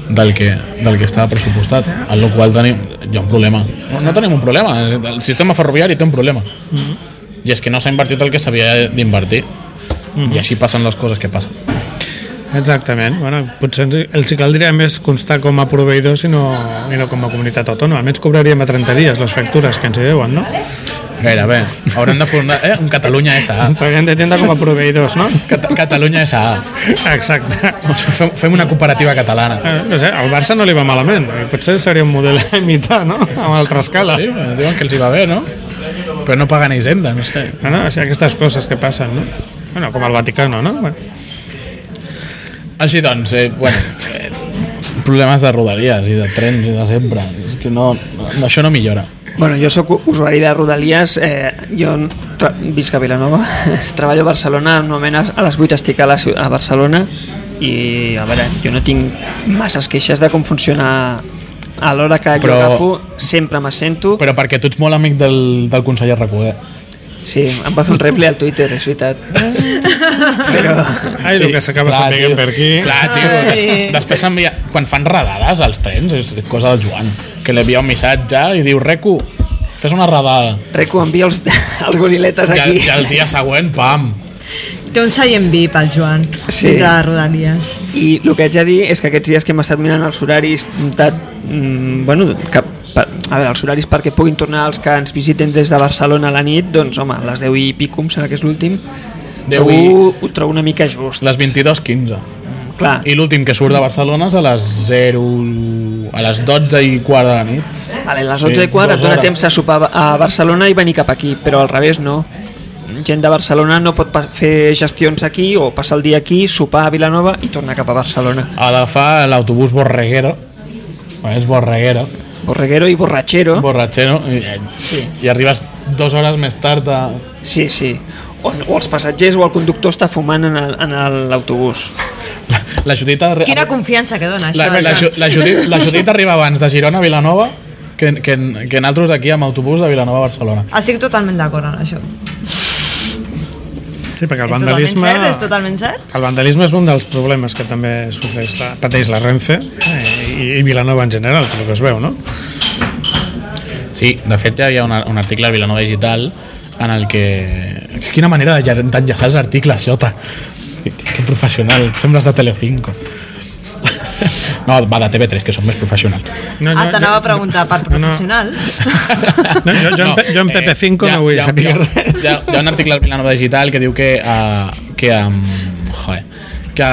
[SPEAKER 1] del que, del que estava pressupostat, en la qual tenim hi ha un problema, no, no tenim un problema és- el sistema ferroviari té un problema i és que no s'ha invertit el que s'havia d'invertir i així passen les coses que passen
[SPEAKER 4] Exactament, bueno, potser ens- els hi caldria més constar com a proveïdors i no, i no com a comunitat autònoma, almenys cobraríem a 30 dies les factures que ens hi deuen, no?
[SPEAKER 1] gairebé, haurem de fundar eh, un Catalunya S.A.
[SPEAKER 4] Ens haurien de tindre com a proveïdors, no?
[SPEAKER 1] Cata Catalunya S.A.
[SPEAKER 4] Exacte.
[SPEAKER 1] Fem, fem una cooperativa catalana
[SPEAKER 4] Eh, No sé, al Barça no li va malament, i potser seria un model a imitar, no? A una altra escala.
[SPEAKER 1] sí, eh, diuen que els hi va bé, no? però no paguen Hisenda, no sé
[SPEAKER 4] No, no, o sigui, aquestes coses que passen, no? Bueno, com al Vaticano, no? Bueno,
[SPEAKER 1] Així doncs, eh, bueno, eh, problemes de rodalies i de trens i de sempre. És que no, no, això no millora.
[SPEAKER 2] Bueno, jo sóc usuari de Rodalies, eh, jo tra- visc a Vilanova, treballo a Barcelona, normalment a a les 8 estic a, la, ciu- a Barcelona i a veure, jo no tinc masses queixes de com funciona a l'hora que
[SPEAKER 1] Però-
[SPEAKER 2] jo agafo, sempre m'assento,
[SPEAKER 1] Però perquè tu ets molt amic del, del conseller Recoder.
[SPEAKER 2] sí, em va fer un replay al Twitter, és veritat. Però,
[SPEAKER 4] ai, el que s'acaba sapiguent per aquí.
[SPEAKER 1] Clar, tio, des,
[SPEAKER 3] Ai.
[SPEAKER 1] després s'envia... Quan fan radades als trens, és cosa del Joan, que li envia un missatge i diu, Reco, fes una radada.
[SPEAKER 2] Reco, envia els, els goriletes
[SPEAKER 1] I, el,
[SPEAKER 2] aquí.
[SPEAKER 1] I el dia següent, pam.
[SPEAKER 3] Té un seient VIP el Joan,
[SPEAKER 2] Sí.
[SPEAKER 3] de Rodalies.
[SPEAKER 2] I el que haig de dir és que aquests dies que hem estat mirant els horaris de, mm, bueno, que, per, a veure, els horaris perquè puguin tornar els que ens visiten des de Barcelona a la nit, doncs home, a les 10 i pico, em sembla que és l'últim,
[SPEAKER 1] 10 i-
[SPEAKER 2] trobo- ho trobo una mica just.
[SPEAKER 1] Les 22.15.
[SPEAKER 2] Clar,
[SPEAKER 1] I l'últim que surt de Barcelona és a les 0... a les 12 i quart de la nit.
[SPEAKER 2] vale, les 11
[SPEAKER 1] Sí,
[SPEAKER 2] i quart et
[SPEAKER 1] dues
[SPEAKER 2] dona
[SPEAKER 1] hores.
[SPEAKER 2] temps a sopar a Barcelona i venir cap aquí, però al revés no. Gent de Barcelona no pot pa- fer gestions aquí o passar el dia aquí, sopar a Vilanova i tornar cap a Barcelona.
[SPEAKER 1] Ha d'agafar l'autobús Borreguero. És Borreguero.
[SPEAKER 2] Borreguero i borratxero.
[SPEAKER 1] borratxero i,
[SPEAKER 2] Ah. Sí.
[SPEAKER 1] i arribes dues hores més tard a...
[SPEAKER 2] Sí, sí. O, o els passatgers o el conductor està fumant en el- en el- l'autobús.
[SPEAKER 1] la, la Judit arri-
[SPEAKER 3] Quina confiança que dona
[SPEAKER 1] la,
[SPEAKER 3] això.
[SPEAKER 1] la, Ju- la, Judit, la Judit arriba abans de Girona a Vilanova que, que, que naltros d'aquí amb autobús de Vilanova a Barcelona
[SPEAKER 3] Estic totalment d'acord amb això.
[SPEAKER 4] Sí, perquè
[SPEAKER 3] és
[SPEAKER 4] el
[SPEAKER 3] totalment
[SPEAKER 4] vandalisme...
[SPEAKER 3] cert, és totalment cert.
[SPEAKER 4] El vandalisme és un dels problemes que també sofreix la, pateix la Renfe eh, i, i Vilanova en general, pel que es veu, no?
[SPEAKER 1] sí, de fet hi havia un, un article a Vilanova Digital en el que quina manera de llar- d'enllaçar els articles Jota, que, que professional sembles de Telecinco no, va de TV3 que són més professionals
[SPEAKER 4] no,
[SPEAKER 3] Ah, t'anava a preguntar per
[SPEAKER 4] no, no.
[SPEAKER 3] professional.
[SPEAKER 4] No, jo- jo en Pe- jo en Pepe Cinco no vull saber
[SPEAKER 1] Eh, hi ha,
[SPEAKER 4] res.
[SPEAKER 1] Hi ha, hi ha un article al Vilanova Digital que diu que... Uh, que um, joder, que...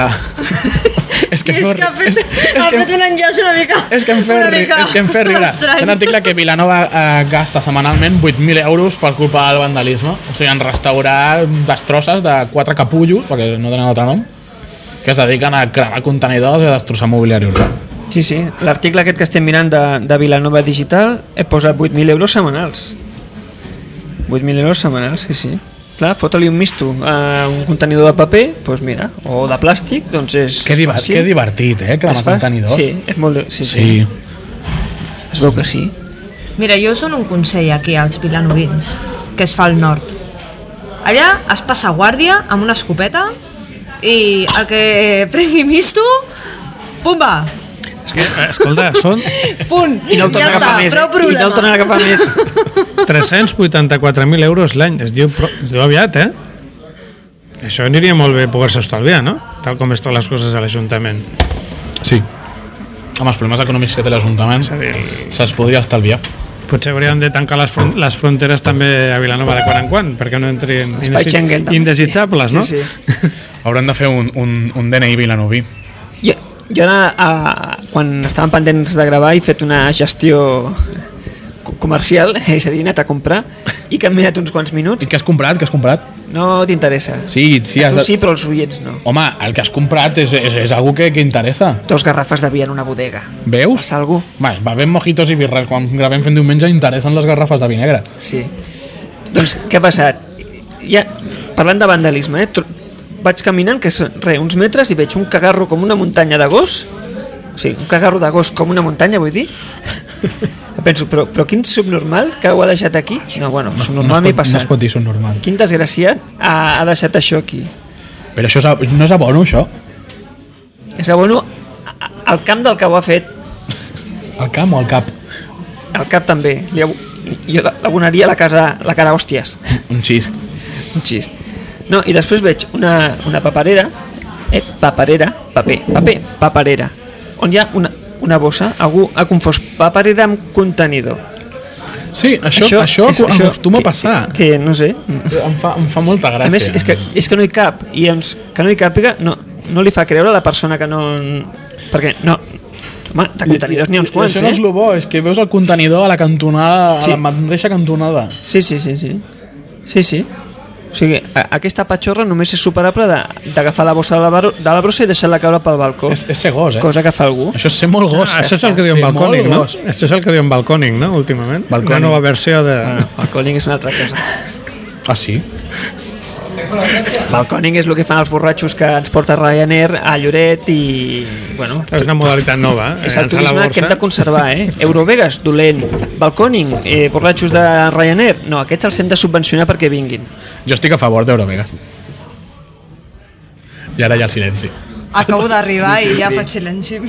[SPEAKER 1] és que,
[SPEAKER 3] És
[SPEAKER 1] feu
[SPEAKER 3] que ha
[SPEAKER 1] ri-
[SPEAKER 3] fet,
[SPEAKER 1] és,
[SPEAKER 3] ha
[SPEAKER 1] que,
[SPEAKER 3] fet un enllaç una mica...
[SPEAKER 1] és que em feu
[SPEAKER 3] una
[SPEAKER 1] ri-
[SPEAKER 3] mica
[SPEAKER 1] és que em feu riure.
[SPEAKER 3] estrany.
[SPEAKER 1] És un article que Vilanova eh, gasta setmanalment 8.000 euros per culpa del vandalisme. O sigui, en restaurar destrosses de quatre capullos, perquè no tenen altre nom, que es dediquen a cremar contenidors i a destrossar mobiliari urbà.
[SPEAKER 2] Sí, sí. L'article aquest que estem mirant de, de Vilanova Digital he posat 8.000 euros setmanals. 8.000 euros setmanals, sí, sí. Clar, fota-li un misto a un contenidor de paper, doncs mira, o de plàstic, doncs és
[SPEAKER 1] Que, diva
[SPEAKER 2] fàcil.
[SPEAKER 1] que divertit, eh?
[SPEAKER 2] Es
[SPEAKER 1] Cremar
[SPEAKER 2] fa-
[SPEAKER 1] contenidors.
[SPEAKER 2] Sí, és molt... de- Sí, sí,
[SPEAKER 1] sí.
[SPEAKER 2] sí. Es veu que sí.
[SPEAKER 3] Mira, jo us dono un consell aquí als vilanovins, que es fa al nord. Allà es passa guàrdia amb una escopeta i el que prengui misto, pumba,
[SPEAKER 4] És que, eh, escolta, són
[SPEAKER 3] punt,
[SPEAKER 2] I no el
[SPEAKER 3] ja
[SPEAKER 2] tornarà a
[SPEAKER 3] està,
[SPEAKER 2] agafar més.
[SPEAKER 3] prou
[SPEAKER 2] eh? I no el
[SPEAKER 3] problema.
[SPEAKER 2] tornarà a agafar més.
[SPEAKER 4] 384.000 euros l'any. Es diu, pro- es diu aviat, eh? Això aniria molt bé poder-se estalviar, no? Tal com estan les coses a l'Ajuntament.
[SPEAKER 1] Sí. Amb els problemes econòmics que té l'Ajuntament
[SPEAKER 4] És a dir, el-
[SPEAKER 1] se'ls podria estalviar.
[SPEAKER 4] Potser hauríem de tancar les, fron les fronteres també a Vilanova de quan en quan, perquè no entrin
[SPEAKER 2] Espai
[SPEAKER 4] indesi-
[SPEAKER 2] Schengen, també.
[SPEAKER 4] indesitjables, no?
[SPEAKER 2] Sí, sí.
[SPEAKER 1] Hauran de fer un, un, un DNI vilanoví.
[SPEAKER 2] Jo, jo ara, a, quan estàvem pendents de gravar, he fet una gestió co- comercial, és a dir, he anat a comprar i que hem mirat uns quants
[SPEAKER 1] I
[SPEAKER 2] minuts.
[SPEAKER 1] què has comprat? Què has comprat?
[SPEAKER 2] No t'interessa.
[SPEAKER 1] Sí, sí,
[SPEAKER 2] a
[SPEAKER 1] has
[SPEAKER 2] tu
[SPEAKER 1] de...
[SPEAKER 2] sí, però els oients no.
[SPEAKER 1] Home, el que has comprat és, és, és algo que, que interessa.
[SPEAKER 2] Dos garrafes de vi en una bodega.
[SPEAKER 1] Veus?
[SPEAKER 2] Passa algú?
[SPEAKER 1] Va, va ben mojitos i birra. Quan gravem fent diumenge interessen les garrafes de vi negre.
[SPEAKER 2] Sí. Doncs què ha passat? Ja, parlant de vandalisme, eh? tro- vaig caminant, que és re, uns metres, i veig un cagarro com una muntanya de gos. O sigui, un cagarro de gos com una muntanya, vull dir. Penso, però, però quin subnormal que ho ha deixat aquí? No, bueno,
[SPEAKER 1] no
[SPEAKER 2] subnormal m'hi
[SPEAKER 1] es pot, no
[SPEAKER 2] passat.
[SPEAKER 1] es pot dir normal.
[SPEAKER 2] Quin desgraciat ha, ha deixat això aquí.
[SPEAKER 1] Però això és, a- no és abono, això?
[SPEAKER 2] És a bueno, a- al camp del que ho ha fet,
[SPEAKER 1] Al camp o al cap?
[SPEAKER 2] al cap també. Li, ab- jo l'abonaria la, casa, la cara a hòsties.
[SPEAKER 1] Un xist.
[SPEAKER 2] un xist. No, i després veig una, una paperera, eh, paperera, paper, paper, paperera, on hi ha una, una bossa, algú ha confós paperera amb contenidor.
[SPEAKER 1] Sí, això, això, això,
[SPEAKER 2] és-
[SPEAKER 1] això acostuma a
[SPEAKER 2] que-
[SPEAKER 1] passar. Que,
[SPEAKER 2] Que, que no sé.
[SPEAKER 1] que... Em, fa, em fa molta
[SPEAKER 2] A
[SPEAKER 1] gràcia.
[SPEAKER 2] més, és que, és que no hi cap, i doncs, que no hi càpiga no, no li fa creure a la persona que no... Perquè no... Home, de contenidors n'hi ha uns quants,
[SPEAKER 1] Això no és
[SPEAKER 2] eh?
[SPEAKER 1] el bo, és que veus el contenidor a la cantonada,
[SPEAKER 2] Sí.
[SPEAKER 1] a la mateixa cantonada.
[SPEAKER 2] Sí, sí, sí, sí. Sí, sí. O sigui, a, aquesta patxorra només és superable de- d'agafar la bossa de la, baro- de la brossa i deixar-la caure pel balcó.
[SPEAKER 1] És, és ser gos, eh?
[SPEAKER 2] Oh. cosa que fa algú.
[SPEAKER 1] Això és ser molt gos.
[SPEAKER 4] Ah, això és el que diuen
[SPEAKER 1] Ser molt
[SPEAKER 4] Balcònic, no?
[SPEAKER 1] gos.
[SPEAKER 4] Això és el que diuen Balcònic, no? Últimament.
[SPEAKER 1] Balcònic.
[SPEAKER 4] Una nova versió de...
[SPEAKER 2] Ah, no, balconing és una altra cosa.
[SPEAKER 1] Ah, sí?
[SPEAKER 2] Balconing és el que fan els borratxos que ens porta Ryanair a Lloret i... Bueno,
[SPEAKER 4] És una modalitat nova, eh?
[SPEAKER 2] és el
[SPEAKER 4] Llançar la
[SPEAKER 2] turisme que hem de
[SPEAKER 4] borsa.
[SPEAKER 2] conservar, eh? Eurovegas, dolent. Balconing, eh, borratxos de Ryanair. No, aquests els hem de subvencionar perquè vinguin.
[SPEAKER 1] Jo estic a favor d'Eurovegas. I ara hi ha el silenci.
[SPEAKER 3] Acabo d'arribar i ja faig silenci.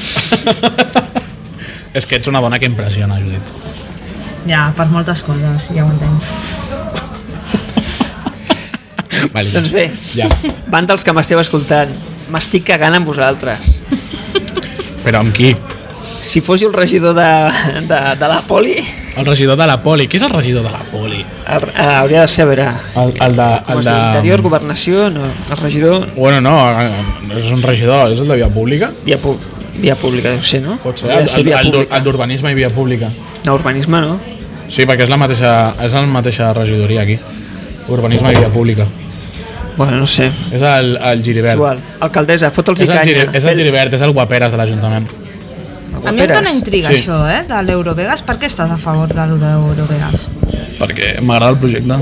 [SPEAKER 1] És que ets una dona que impressiona, Judit.
[SPEAKER 3] Ja, per moltes coses, ja ho entenc.
[SPEAKER 1] Vale.
[SPEAKER 2] Doncs bé.
[SPEAKER 1] Ja.
[SPEAKER 2] Van dels que m'esteu escoltant. M'estic cagant amb vosaltres.
[SPEAKER 1] Però amb qui?
[SPEAKER 2] Si fos jo el regidor de, de, de la poli,
[SPEAKER 1] El regidor de la poli. Qui és el regidor de la poli?
[SPEAKER 2] el, eh, hauria de ser, a veure...
[SPEAKER 1] El, el de... El
[SPEAKER 2] Com es
[SPEAKER 1] de...
[SPEAKER 2] diu? Interior, governació, no. El regidor,
[SPEAKER 1] Bueno, no, eh, és un regidor, és el de via pública.
[SPEAKER 2] via, pu via pública, deu ser, no?
[SPEAKER 1] Pot ser,
[SPEAKER 2] Hauria de
[SPEAKER 1] el,
[SPEAKER 2] ser
[SPEAKER 1] el,
[SPEAKER 2] via
[SPEAKER 1] el,
[SPEAKER 2] pública.
[SPEAKER 1] el d'urbanisme i via pública.
[SPEAKER 2] No, urbanisme no.
[SPEAKER 1] Sí, perquè és la mateixa, és la mateixa regidoria aquí. Urbanisme i via pública.
[SPEAKER 2] Bueno, no sé.
[SPEAKER 1] És el, el
[SPEAKER 2] És
[SPEAKER 1] Giribert.
[SPEAKER 2] igual. Alcaldessa, fot'ls
[SPEAKER 1] És
[SPEAKER 2] i
[SPEAKER 1] el, Giri,
[SPEAKER 2] canya.
[SPEAKER 1] és el Giribert, és el guaperes de l'Ajuntament.
[SPEAKER 3] A mi em dona intriga
[SPEAKER 1] Sí.
[SPEAKER 3] sí. això, eh, de l'Eurovegas. Per què estàs a favor de lo d'Eurovegas?
[SPEAKER 1] Perquè m'agrada el projecte.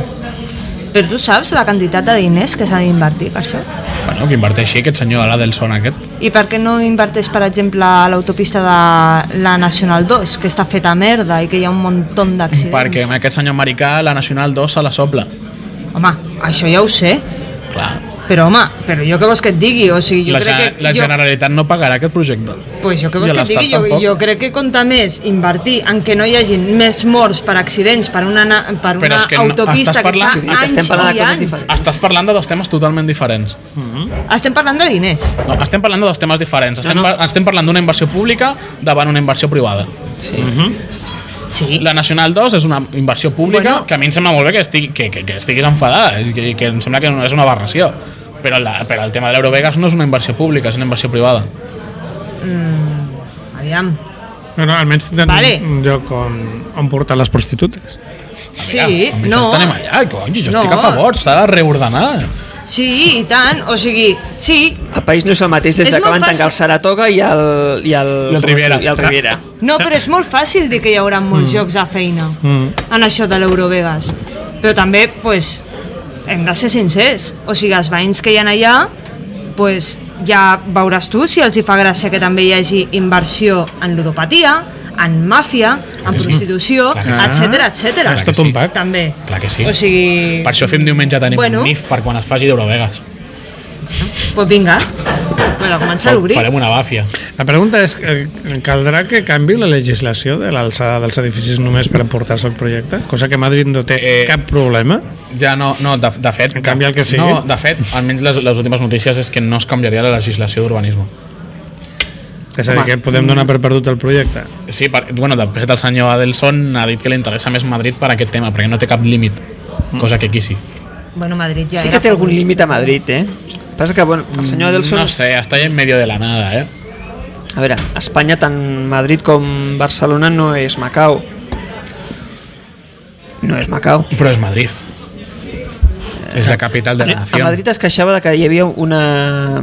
[SPEAKER 3] Però tu saps la quantitat de diners que s'ha d'invertir per això?
[SPEAKER 1] Bueno, que inverteixi aquest senyor de l'Adelson aquest.
[SPEAKER 3] I per què no inverteix, per exemple, a l'autopista de la Nacional 2, que està feta merda i que hi ha un munt d'accidents?
[SPEAKER 1] Perquè
[SPEAKER 2] doncs.
[SPEAKER 1] amb aquest senyor americà la Nacional 2 se la sopla.
[SPEAKER 3] Home, això ja ho sé,
[SPEAKER 1] Clar.
[SPEAKER 3] però home, però jo què vols que et digui? O sigui, jo
[SPEAKER 1] la,
[SPEAKER 3] crec
[SPEAKER 1] Gen-
[SPEAKER 3] que...
[SPEAKER 1] la
[SPEAKER 3] jo,
[SPEAKER 1] Generalitat no pagarà aquest projecte.
[SPEAKER 3] Pues jo què
[SPEAKER 1] I
[SPEAKER 3] vols
[SPEAKER 1] a
[SPEAKER 3] que et digui,
[SPEAKER 1] l'Estat
[SPEAKER 3] jo,
[SPEAKER 1] tampoc.
[SPEAKER 3] jo crec que compta més invertir en que no hi hagin més morts per accidents per una, na- per
[SPEAKER 1] Però
[SPEAKER 3] una
[SPEAKER 1] és que no- estàs
[SPEAKER 3] autopista
[SPEAKER 1] parlant-
[SPEAKER 3] que
[SPEAKER 2] Estem
[SPEAKER 3] fa anys
[SPEAKER 2] parlant de
[SPEAKER 3] i
[SPEAKER 2] coses
[SPEAKER 3] anys. Ah,
[SPEAKER 2] diferents.
[SPEAKER 1] Estàs parlant de dos temes totalment diferents.
[SPEAKER 3] Estem parlant de diners.
[SPEAKER 1] No, estem parlant de dos temes diferents. Estem,
[SPEAKER 2] No,
[SPEAKER 1] no, no. estem parlant d'una inversió pública davant una inversió privada.
[SPEAKER 2] Sí.
[SPEAKER 3] Sí.
[SPEAKER 1] La Nacional 2 és una inversió pública
[SPEAKER 3] Bueno.
[SPEAKER 1] bueno. que a mi em sembla molt bé que, estigui, que, que, que estiguis enfadada i que, que em sembla que no és una aberració. Però, la, però el tema de l'Eurovegas no és una inversió pública, és una inversió privada.
[SPEAKER 3] Aviam.
[SPEAKER 4] No, no, almenys tenen
[SPEAKER 3] Vale.
[SPEAKER 4] un lloc on, on portar les prostitutes.
[SPEAKER 3] Sí,
[SPEAKER 1] Mira,
[SPEAKER 3] no.
[SPEAKER 1] Estarem allà, coi, jo no. estic
[SPEAKER 3] No.
[SPEAKER 1] a favor, s'ha de reordenar.
[SPEAKER 3] Sí, i tant. O sigui, sí.
[SPEAKER 2] El país no és el mateix des
[SPEAKER 3] És
[SPEAKER 2] de que
[SPEAKER 3] molt
[SPEAKER 2] van tancar el
[SPEAKER 3] fàcil.
[SPEAKER 2] Saratoga i el... I el,
[SPEAKER 1] I el Riviera.
[SPEAKER 2] I el Riviera.
[SPEAKER 3] No, però és molt fàcil dir que hi haurà molts jocs de feina en això de l'Eurovegas. Però també, pues, hem de ser sincers. O sigui, els veïns que hi ha allà, pues, ja veuràs tu si els hi fa gràcia que també hi hagi inversió en ludopatia, en màfia, en prostitució,
[SPEAKER 4] que sí.
[SPEAKER 3] etc etc.
[SPEAKER 4] És tot un pack.
[SPEAKER 3] També.
[SPEAKER 1] Clar que sí.
[SPEAKER 3] O sigui,
[SPEAKER 1] Per això fem diumenge tenim
[SPEAKER 3] Bueno.
[SPEAKER 1] bueno. un NIF per quan es faci d'Eurovegas.
[SPEAKER 3] pues vinga, pues a començar a obrir.
[SPEAKER 1] Farem una bàfia.
[SPEAKER 4] La pregunta és, eh, caldrà que canvi la legislació de l'alçada dels edificis només per emportar-se el projecte? Cosa que Madrid no té
[SPEAKER 1] Eh,
[SPEAKER 4] eh, cap problema.
[SPEAKER 1] Ja no, no de, de fet...
[SPEAKER 4] En canvi, el que sigui.
[SPEAKER 1] No, de fet, almenys les, les últimes notícies és que no es canviaria la legislació d'urbanisme.
[SPEAKER 4] És a dir,
[SPEAKER 2] home.
[SPEAKER 4] que podem donar per perdut el projecte.
[SPEAKER 1] Sí, per, bueno, de fet el senyor Adelson ha dit que li interessa més Madrid per aquest tema, perquè no té cap límit,
[SPEAKER 4] Mm.
[SPEAKER 1] cosa que aquí sí.
[SPEAKER 3] Bueno, Madrid ja
[SPEAKER 2] Sí
[SPEAKER 3] era
[SPEAKER 2] que té algun límit a Madrid, eh? Passa que, bueno, el senyor Adelson...
[SPEAKER 1] Mm, No sé, està en medio de la nada, eh?
[SPEAKER 2] A veure, a Espanya tant Madrid com Barcelona no és Macau. No és Macau.
[SPEAKER 1] Però és Madrid. És la capital de la
[SPEAKER 2] Eh, A
[SPEAKER 1] nació.
[SPEAKER 2] Madrid es queixava de que hi havia una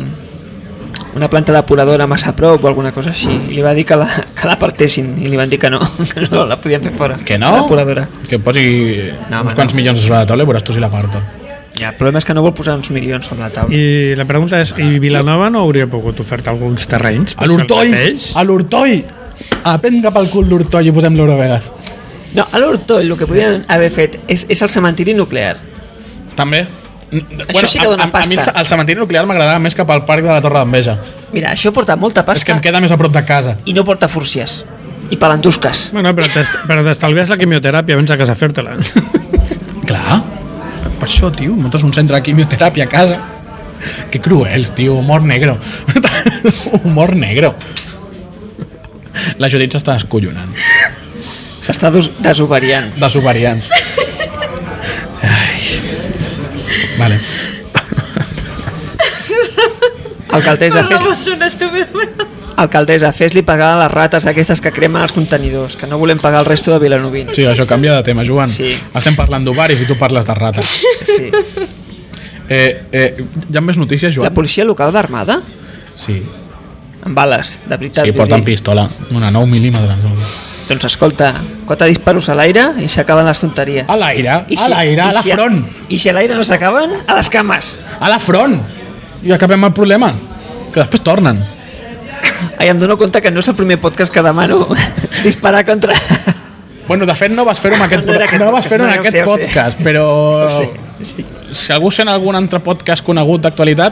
[SPEAKER 2] una planta depuradora massa a prop o alguna cosa així. I li va dir que la, que la partessin i li van dir que no, que no la podien fer fora.
[SPEAKER 1] Que no?
[SPEAKER 2] La depuradora.
[SPEAKER 1] Que posi
[SPEAKER 2] No,
[SPEAKER 1] no,
[SPEAKER 2] home,
[SPEAKER 1] uns quants
[SPEAKER 2] no.
[SPEAKER 1] no. milions sobre la taula i veuràs tu si la parten.
[SPEAKER 2] Ja, el problema és que no vol posar uns milions sobre la taula.
[SPEAKER 4] I la pregunta és, i Vilanova no hauria pogut ofertar alguns terrenys?
[SPEAKER 1] A
[SPEAKER 4] per fer el
[SPEAKER 1] l'Hortoll!
[SPEAKER 4] mateix?
[SPEAKER 1] A l'Hortoll! A prendre pel cul l'Hortoll i posem l'Eurovegas.
[SPEAKER 2] No, a l'Hortoll el que podien haver fet és, és el cementiri nuclear.
[SPEAKER 1] També.
[SPEAKER 2] Això sí que dona
[SPEAKER 1] a, a, a mi el ce-
[SPEAKER 2] pasta.
[SPEAKER 1] el cementiri nuclear m'agradava més que pel parc de la Torre d'Enveja.
[SPEAKER 2] Mira, això porta molta pasta
[SPEAKER 1] És que em queda més a prop de casa.
[SPEAKER 2] i no porta fúrcies. I palantusques.
[SPEAKER 4] Bueno, però t'es- però t'estalvies la quimioteràpia abans de casa fer-te-la.
[SPEAKER 1] Clar. Per això, tio, muntes un centre de quimioteràpia a casa. Que cruel, tio, humor negro. humor negro. La Judit s'està descollonant.
[SPEAKER 2] S'està des- desovariant.
[SPEAKER 1] de su variant. Ai. Vale.
[SPEAKER 2] Alcaldessa, fes,
[SPEAKER 3] Vamos, un estúpido.
[SPEAKER 2] alcaldessa, fes-li pagar a les rates aquestes que cremen els contenidors, que no volem pagar el resto de Vilanovín.
[SPEAKER 1] Sí, això canvia de tema, Joan.
[SPEAKER 2] Sí.
[SPEAKER 1] Estem parlant d'ovaris i tu parles de rates.
[SPEAKER 2] Sí.
[SPEAKER 1] Eh, eh, hi ha més notícies,
[SPEAKER 2] La
[SPEAKER 1] Joan?
[SPEAKER 2] policia local va armada?
[SPEAKER 1] Sí.
[SPEAKER 2] Amb bales, de veritat.
[SPEAKER 1] Sí,
[SPEAKER 2] vull
[SPEAKER 1] porten
[SPEAKER 2] dir.
[SPEAKER 1] pistola. Una 9 mil·límetres.
[SPEAKER 2] Doncs escolta, quatre disparos a l'aire i s'acaben les tonteries.
[SPEAKER 1] A l'aire,
[SPEAKER 2] I
[SPEAKER 1] a l'aire, a
[SPEAKER 2] i
[SPEAKER 1] la
[SPEAKER 2] si
[SPEAKER 1] front.
[SPEAKER 2] I si a l'aire no s'acaben, a les cames.
[SPEAKER 1] A la front. I acabem el problema. Que després tornen.
[SPEAKER 2] Ai, em dono compte que no és el primer podcast que demano disparar contra...
[SPEAKER 1] Bueno, de fet, no vas fer-ho en aquest,
[SPEAKER 2] No era
[SPEAKER 1] podcast,
[SPEAKER 2] aquest
[SPEAKER 1] no vas fer en
[SPEAKER 2] podcast, no, ja ho
[SPEAKER 1] aquest
[SPEAKER 2] sé, ja ho sé.
[SPEAKER 1] podcast, però...
[SPEAKER 2] Sí, sí.
[SPEAKER 1] si algú sent algun altre podcast conegut d'actualitat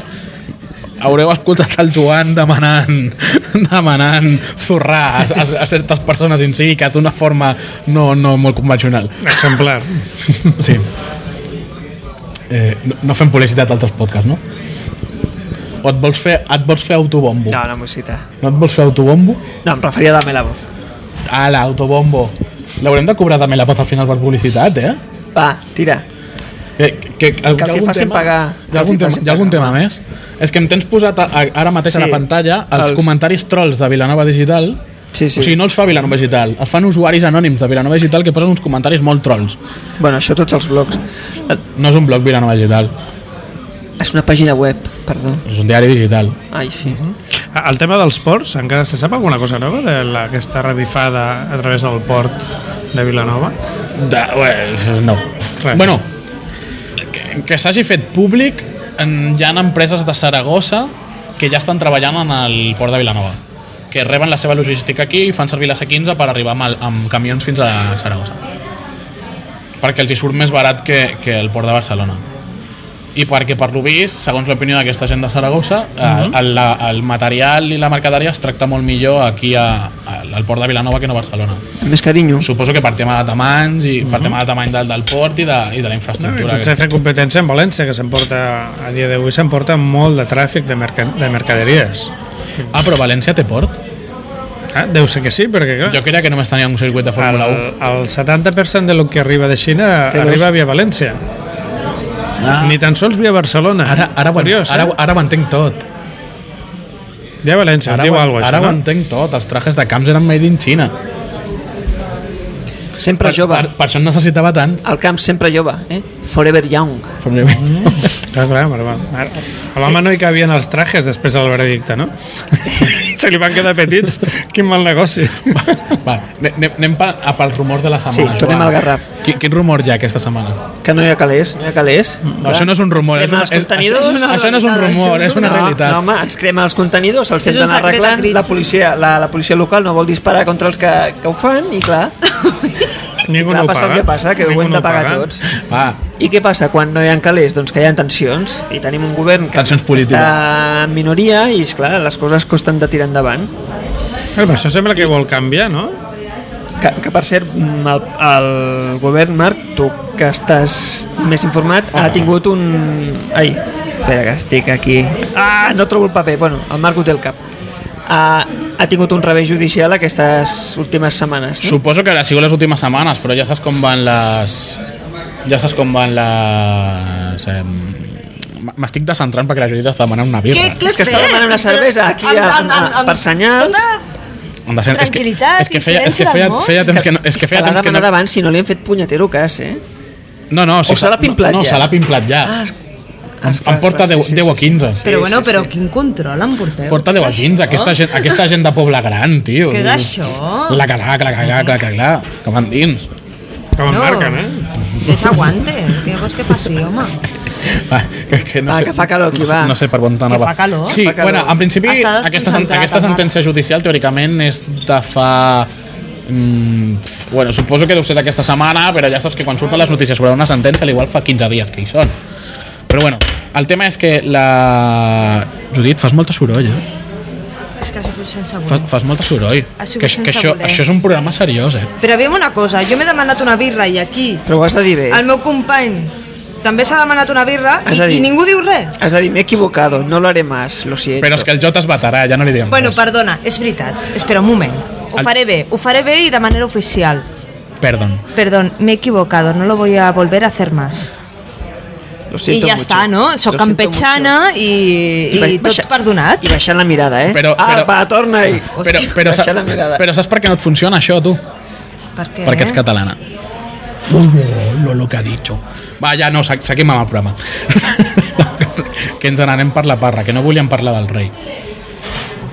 [SPEAKER 1] haureu escoltat el Joan demanant, demanant zurrar a, a, a certes persones incíviques d'una forma no, no molt convencional.
[SPEAKER 4] Exemplar.
[SPEAKER 1] Sí. Eh, no, no fem publicitat d'altres podcasts, no? O et vols fer, et vols fer autobombo?
[SPEAKER 2] No, no m'ho cita.
[SPEAKER 1] no et vols fer autobombo?
[SPEAKER 2] No, em referia a darme la voz.
[SPEAKER 1] Ala, autobombo. L'haurem de cobrar també la pota al final per publicitat, eh?
[SPEAKER 2] Va, tira.
[SPEAKER 1] Que, que, que,
[SPEAKER 2] els hi facin pagar.
[SPEAKER 1] Hi ha algun,
[SPEAKER 2] Que
[SPEAKER 1] tema,
[SPEAKER 2] els hi facin
[SPEAKER 1] hi ha algun tema
[SPEAKER 2] pagar.
[SPEAKER 1] més? És que em tens posat a, a, ara mateix a
[SPEAKER 2] Sí,
[SPEAKER 1] la pantalla els,
[SPEAKER 2] els-
[SPEAKER 1] comentaris trolls de Vilanova Digital.
[SPEAKER 2] Sí, sí.
[SPEAKER 1] O sigui, no els fa Vilanova Digital, els fan usuaris anònims de Vilanova Digital que posen uns comentaris molt trolls.
[SPEAKER 2] Bueno, això tots els blogs. Eh,
[SPEAKER 1] No és un blog Vilanova Digital,
[SPEAKER 2] És una pàgina web, perdó.
[SPEAKER 1] és un diari digital.
[SPEAKER 2] Ai, sí.
[SPEAKER 4] Ah, El tema dels ports, encara se sap alguna cosa nova de la, aquesta revifada a través del port de Vilanova?
[SPEAKER 1] De, pues, no.
[SPEAKER 4] Res.
[SPEAKER 1] Bueno, que, que s'hagi fet públic, en, hi ha empreses de Saragossa que ja estan treballant en el port de Vilanova que reben la seva logística aquí i fan servir la C15 per arribar amb, el, amb camions fins a Saragossa perquè els hi surt més barat que, que el port de Barcelona i perquè per lo vist, segons l'opinió d'aquesta gent de Saragossa uh -huh. el, la- el material i la mercaderia es tracta molt millor aquí a, a, al port de Vilanova que no a Barcelona
[SPEAKER 2] Més carinyo.
[SPEAKER 1] Suposo que per tema de tamanys i per tema de tamany del, del port i de, i de la
[SPEAKER 4] Mhm. No, i
[SPEAKER 1] infraestructura.
[SPEAKER 4] potser fer competència en València, que s'emporta a dia d'avui s'emporta molt de tràfic de, merca, de mercaderies.
[SPEAKER 1] Ah, però València té port?
[SPEAKER 4] Ah, deu ser que sí, perquè clar,
[SPEAKER 1] Jo creia que només tenia un circuit de
[SPEAKER 4] el,
[SPEAKER 1] Fórmula 1.
[SPEAKER 4] el 70% de lo que arriba de Xina
[SPEAKER 2] Té dos.
[SPEAKER 4] arriba via València.
[SPEAKER 1] Ah,
[SPEAKER 4] Ni tan sols via Barcelona.
[SPEAKER 1] ara, ara, ho,
[SPEAKER 4] Curiós,
[SPEAKER 1] ara,
[SPEAKER 4] eh?
[SPEAKER 1] ara ho entenc tot.
[SPEAKER 4] Ja València,
[SPEAKER 1] Ara,
[SPEAKER 4] diu
[SPEAKER 1] ho,
[SPEAKER 4] alguna
[SPEAKER 1] ara ho
[SPEAKER 4] cosa, no?
[SPEAKER 1] entenc tot. Els trajes de camps eren made in China.
[SPEAKER 2] Sempre jove.
[SPEAKER 1] Per, per això en necessitava tant.
[SPEAKER 2] Al camp sempre jove, eh? Forever young.
[SPEAKER 1] Mm.
[SPEAKER 4] Clar, Ah, clar, però va. Ara, a l'home no hi cabien els trajes després del veredicte, no? Se li van quedar petits. Quin mal negoci.
[SPEAKER 1] Va, anem, anem pa- a pels rumors de la setmana.
[SPEAKER 2] Sí, tornem
[SPEAKER 1] Joan.
[SPEAKER 2] al Garraf.
[SPEAKER 1] Quin, quin rumor hi ha aquesta setmana?
[SPEAKER 2] Que no hi ha calés, no hi ha calés.
[SPEAKER 1] No, això no és un rumor,
[SPEAKER 2] Ens
[SPEAKER 1] és una-
[SPEAKER 2] cremen els
[SPEAKER 1] és-
[SPEAKER 2] contenidors.
[SPEAKER 1] això- això no és un rumor, és una
[SPEAKER 2] no,
[SPEAKER 1] realitat.
[SPEAKER 2] No, home, ens cremen els contenidors, els
[SPEAKER 3] És
[SPEAKER 2] senten
[SPEAKER 3] un secret a
[SPEAKER 2] arreglant,
[SPEAKER 3] crits.
[SPEAKER 2] la policia, la, la policia local no vol disparar contra els que, que ho fan, i clar,
[SPEAKER 4] Ningú
[SPEAKER 2] clar
[SPEAKER 4] no ho
[SPEAKER 2] passa
[SPEAKER 4] paga.
[SPEAKER 2] el que passa, que
[SPEAKER 4] Ningú
[SPEAKER 2] ho hem
[SPEAKER 4] no
[SPEAKER 2] de pagar
[SPEAKER 4] paga.
[SPEAKER 2] tots.
[SPEAKER 1] Va,
[SPEAKER 2] I què passa quan no hi ha calés? Doncs que hi ha tensions, i tenim un govern que
[SPEAKER 1] Tensions polítiques.
[SPEAKER 2] està en minoria, i esclar, les coses costen de tirar endavant.
[SPEAKER 4] Clar, però això sembla que vol canviar, no?
[SPEAKER 2] Que, que per cert, mm, el, el govern, Marc, tu que estàs més informat, ha tingut un... Ai, espera que estic aquí. Ah, no trobo el paper. Bueno, el Marc ho té al cap. Ha, ha tingut un revés judicial aquestes últimes setmanes. No?
[SPEAKER 1] Suposo que ha sigut les últimes setmanes, però ja saps com van les... Ja saps com van les... em, m- M'estic descentrant perquè la Judit està demanant una birra.
[SPEAKER 3] Què- què
[SPEAKER 2] És que està
[SPEAKER 3] fem?
[SPEAKER 2] demanant una cervesa aquí a- a- per senyals.
[SPEAKER 3] Tota...
[SPEAKER 1] Em descent- és que-
[SPEAKER 3] Tranquilitat
[SPEAKER 1] és que,
[SPEAKER 3] i
[SPEAKER 1] feia, és que
[SPEAKER 3] silenci
[SPEAKER 1] feia,
[SPEAKER 3] d'amor.
[SPEAKER 1] feia temps que no... És que feia
[SPEAKER 2] l'ha
[SPEAKER 1] temps que
[SPEAKER 2] demanat
[SPEAKER 1] no...
[SPEAKER 2] abans si no li han fet punyetero cas, eh?
[SPEAKER 1] No, no,
[SPEAKER 2] O se l'ha pimplat
[SPEAKER 1] no, no,
[SPEAKER 2] ja?
[SPEAKER 1] se l'ha pimplat ja.
[SPEAKER 2] Ah,
[SPEAKER 1] Em- em porta 10, 10 a 15.
[SPEAKER 3] Però bueno,
[SPEAKER 2] sí,
[SPEAKER 3] però
[SPEAKER 2] sí.
[SPEAKER 3] quin control em porteu?
[SPEAKER 1] Porta 10 a 15, aquesta gent, aquesta gent de poble gran, tio.
[SPEAKER 3] Què és això?
[SPEAKER 1] La calà, la calà, la calà, que van dins.
[SPEAKER 4] Com en
[SPEAKER 3] No.
[SPEAKER 4] marquen, eh?
[SPEAKER 3] Que s'aguante, què vols que passi, home?
[SPEAKER 1] Va, que, que no
[SPEAKER 2] Va,
[SPEAKER 1] sé,
[SPEAKER 2] que fa calor aquí,
[SPEAKER 1] no sé,
[SPEAKER 2] va.
[SPEAKER 1] No sé per on anava.
[SPEAKER 3] Que fa calor?
[SPEAKER 1] Sí,
[SPEAKER 2] Fa calor.
[SPEAKER 1] bueno, en principi
[SPEAKER 3] Està
[SPEAKER 1] aquesta, sen-
[SPEAKER 3] desconcentrat,
[SPEAKER 1] aquesta
[SPEAKER 3] el Marc.
[SPEAKER 1] sentència judicial teòricament és de fa... Mm, f- bueno, suposo que deu ser d'aquesta setmana, però ja saps que quan surten les notícies sobre una sentència, al igual fa 15 dies que hi són. Però bueno, el tema és que la... Judit, fas molta soroll, eh?
[SPEAKER 3] És que ha sigut sense voler.
[SPEAKER 1] Fas, fas molta soroll.
[SPEAKER 3] Ha sigut
[SPEAKER 1] Que, que
[SPEAKER 3] sense
[SPEAKER 1] això,
[SPEAKER 3] voler.
[SPEAKER 1] això és un programa seriós, eh?
[SPEAKER 3] Però aviam una cosa, jo m'he demanat una birra i aquí
[SPEAKER 2] Però ho has de dir bé.
[SPEAKER 3] el meu company també s'ha demanat una birra
[SPEAKER 2] Has
[SPEAKER 3] i,
[SPEAKER 2] de dir-
[SPEAKER 3] i ningú diu res.
[SPEAKER 2] Has de dir, m'he equivocado, no lo haré más, lo siento.
[SPEAKER 1] Però és que el Jota es batarà, ja no li diem
[SPEAKER 3] Bueno,
[SPEAKER 1] res.
[SPEAKER 3] perdona, és veritat. Espera un moment. Ho
[SPEAKER 1] El-
[SPEAKER 3] faré bé, ho faré bé i de manera oficial.
[SPEAKER 1] Perdón.
[SPEAKER 3] Perdón, me he equivocado, no lo voy a volver a hacer más.
[SPEAKER 2] Lo
[SPEAKER 3] I
[SPEAKER 2] siento
[SPEAKER 3] ja
[SPEAKER 2] mucho.
[SPEAKER 3] està, no? Soc
[SPEAKER 2] Lo siento
[SPEAKER 3] campechana
[SPEAKER 2] mucho.
[SPEAKER 3] i, i,
[SPEAKER 2] ba-
[SPEAKER 3] tot
[SPEAKER 2] baixa-
[SPEAKER 3] perdonat.
[SPEAKER 2] I baixant la mirada, eh?
[SPEAKER 1] Però-
[SPEAKER 2] ah,
[SPEAKER 1] però-
[SPEAKER 2] va, torna-hi.
[SPEAKER 1] Però, però,
[SPEAKER 2] Baixa la
[SPEAKER 1] saps,
[SPEAKER 2] mirada.
[SPEAKER 1] però saps per què no et funciona això, tu?
[SPEAKER 3] Per què?
[SPEAKER 1] Perquè ets catalana. Lo, lo que ha dicho. Va, ja no, sa- saquem amb el programa. que ens n'anem per la parra, que no volíem parlar del rei.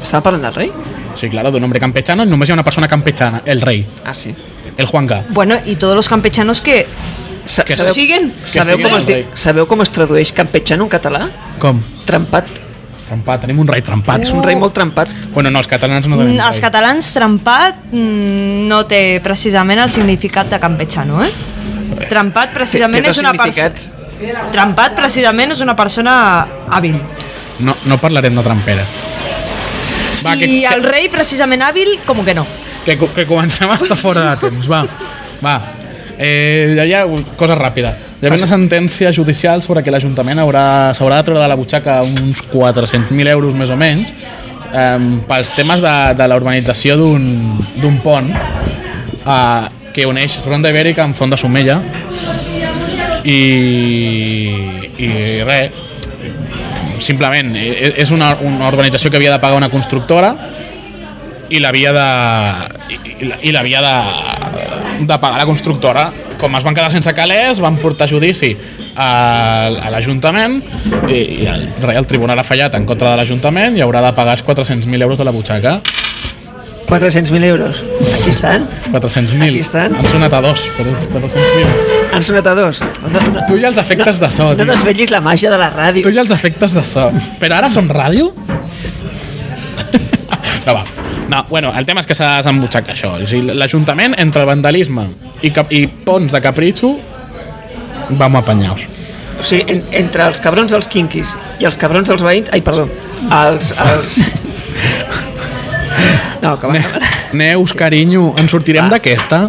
[SPEAKER 2] Estava parlant del rei?
[SPEAKER 1] Sí, claro, d'un hombre campechano, només hi ha una persona campechana, el rei,
[SPEAKER 2] Ah, sí.
[SPEAKER 1] el Juanca.
[SPEAKER 3] Bueno, y todos los campechanos que...
[SPEAKER 2] Sa
[SPEAKER 1] Que
[SPEAKER 2] sabeu,
[SPEAKER 3] siguen-
[SPEAKER 2] sabeu,
[SPEAKER 1] que siguen
[SPEAKER 2] com es
[SPEAKER 1] el
[SPEAKER 2] di
[SPEAKER 1] rei.
[SPEAKER 2] sabeu com es tradueix campechano en català?
[SPEAKER 1] Com?
[SPEAKER 2] Trampat.
[SPEAKER 1] Trampat, tenim un rei trampat.
[SPEAKER 2] És un rei molt trampat.
[SPEAKER 1] Bueno, no, els catalans no tenim
[SPEAKER 3] Mm, els
[SPEAKER 1] rei.
[SPEAKER 3] catalans trampat mm, no té precisament el significat de campechano, eh? Trampat precisament
[SPEAKER 2] Té- té
[SPEAKER 3] és
[SPEAKER 2] dos
[SPEAKER 3] una persona... Trampat precisament és una persona hàbil.
[SPEAKER 1] No, no parlarem de tramperes. Va, que,
[SPEAKER 3] I el
[SPEAKER 1] que,
[SPEAKER 3] rei precisament hàbil, com que no.
[SPEAKER 1] que, co- que comencem a estar fora de temps, va. Va, eh, hi havia cosa ràpida. Hi havia una sentència judicial sobre que l'Ajuntament haurà- s'haurà de treure de la butxaca uns 400.000 euros més o menys eh, pels temes de, de la urbanització d'un d'un pont eh, que uneix Ronda Ibèrica amb Font de Somella i, i res simplement eh, és una, una urbanització que havia de pagar una constructora i l'havia de i- i la- i l'havia de, de pagar la constructora com es van quedar sense calés van portar a judici a, a l'Ajuntament i, i el, rei- el tribunal ha fallat en contra de l'Ajuntament i haurà de pagar els 400.000 euros de la butxaca
[SPEAKER 2] 400.000 euros. Aquí estan.
[SPEAKER 1] 400.000
[SPEAKER 2] Aquí estan.
[SPEAKER 1] han sonat a dos però 400.000
[SPEAKER 2] Han sonat a dos. No, no,
[SPEAKER 1] tu i els efectes de so
[SPEAKER 2] no
[SPEAKER 1] tio.
[SPEAKER 2] desvetllis la màgia de la
[SPEAKER 1] Tu
[SPEAKER 2] ràdio.
[SPEAKER 1] ja els efectes de so. Però ara són ràdio? No, va. No, bueno, el tema és que s'ha desembutxat això. O sigui, L'Ajuntament, entre vandalisme i, cap i ponts de capritxo, vam apanyar-los.
[SPEAKER 2] O sigui, en, entre els cabrons dels quinquis i els cabrons dels veïns... Ai, perdó. Els... els... No, que
[SPEAKER 1] Ne
[SPEAKER 2] va.
[SPEAKER 1] Neus, carinyo, en sortirem d'aquesta?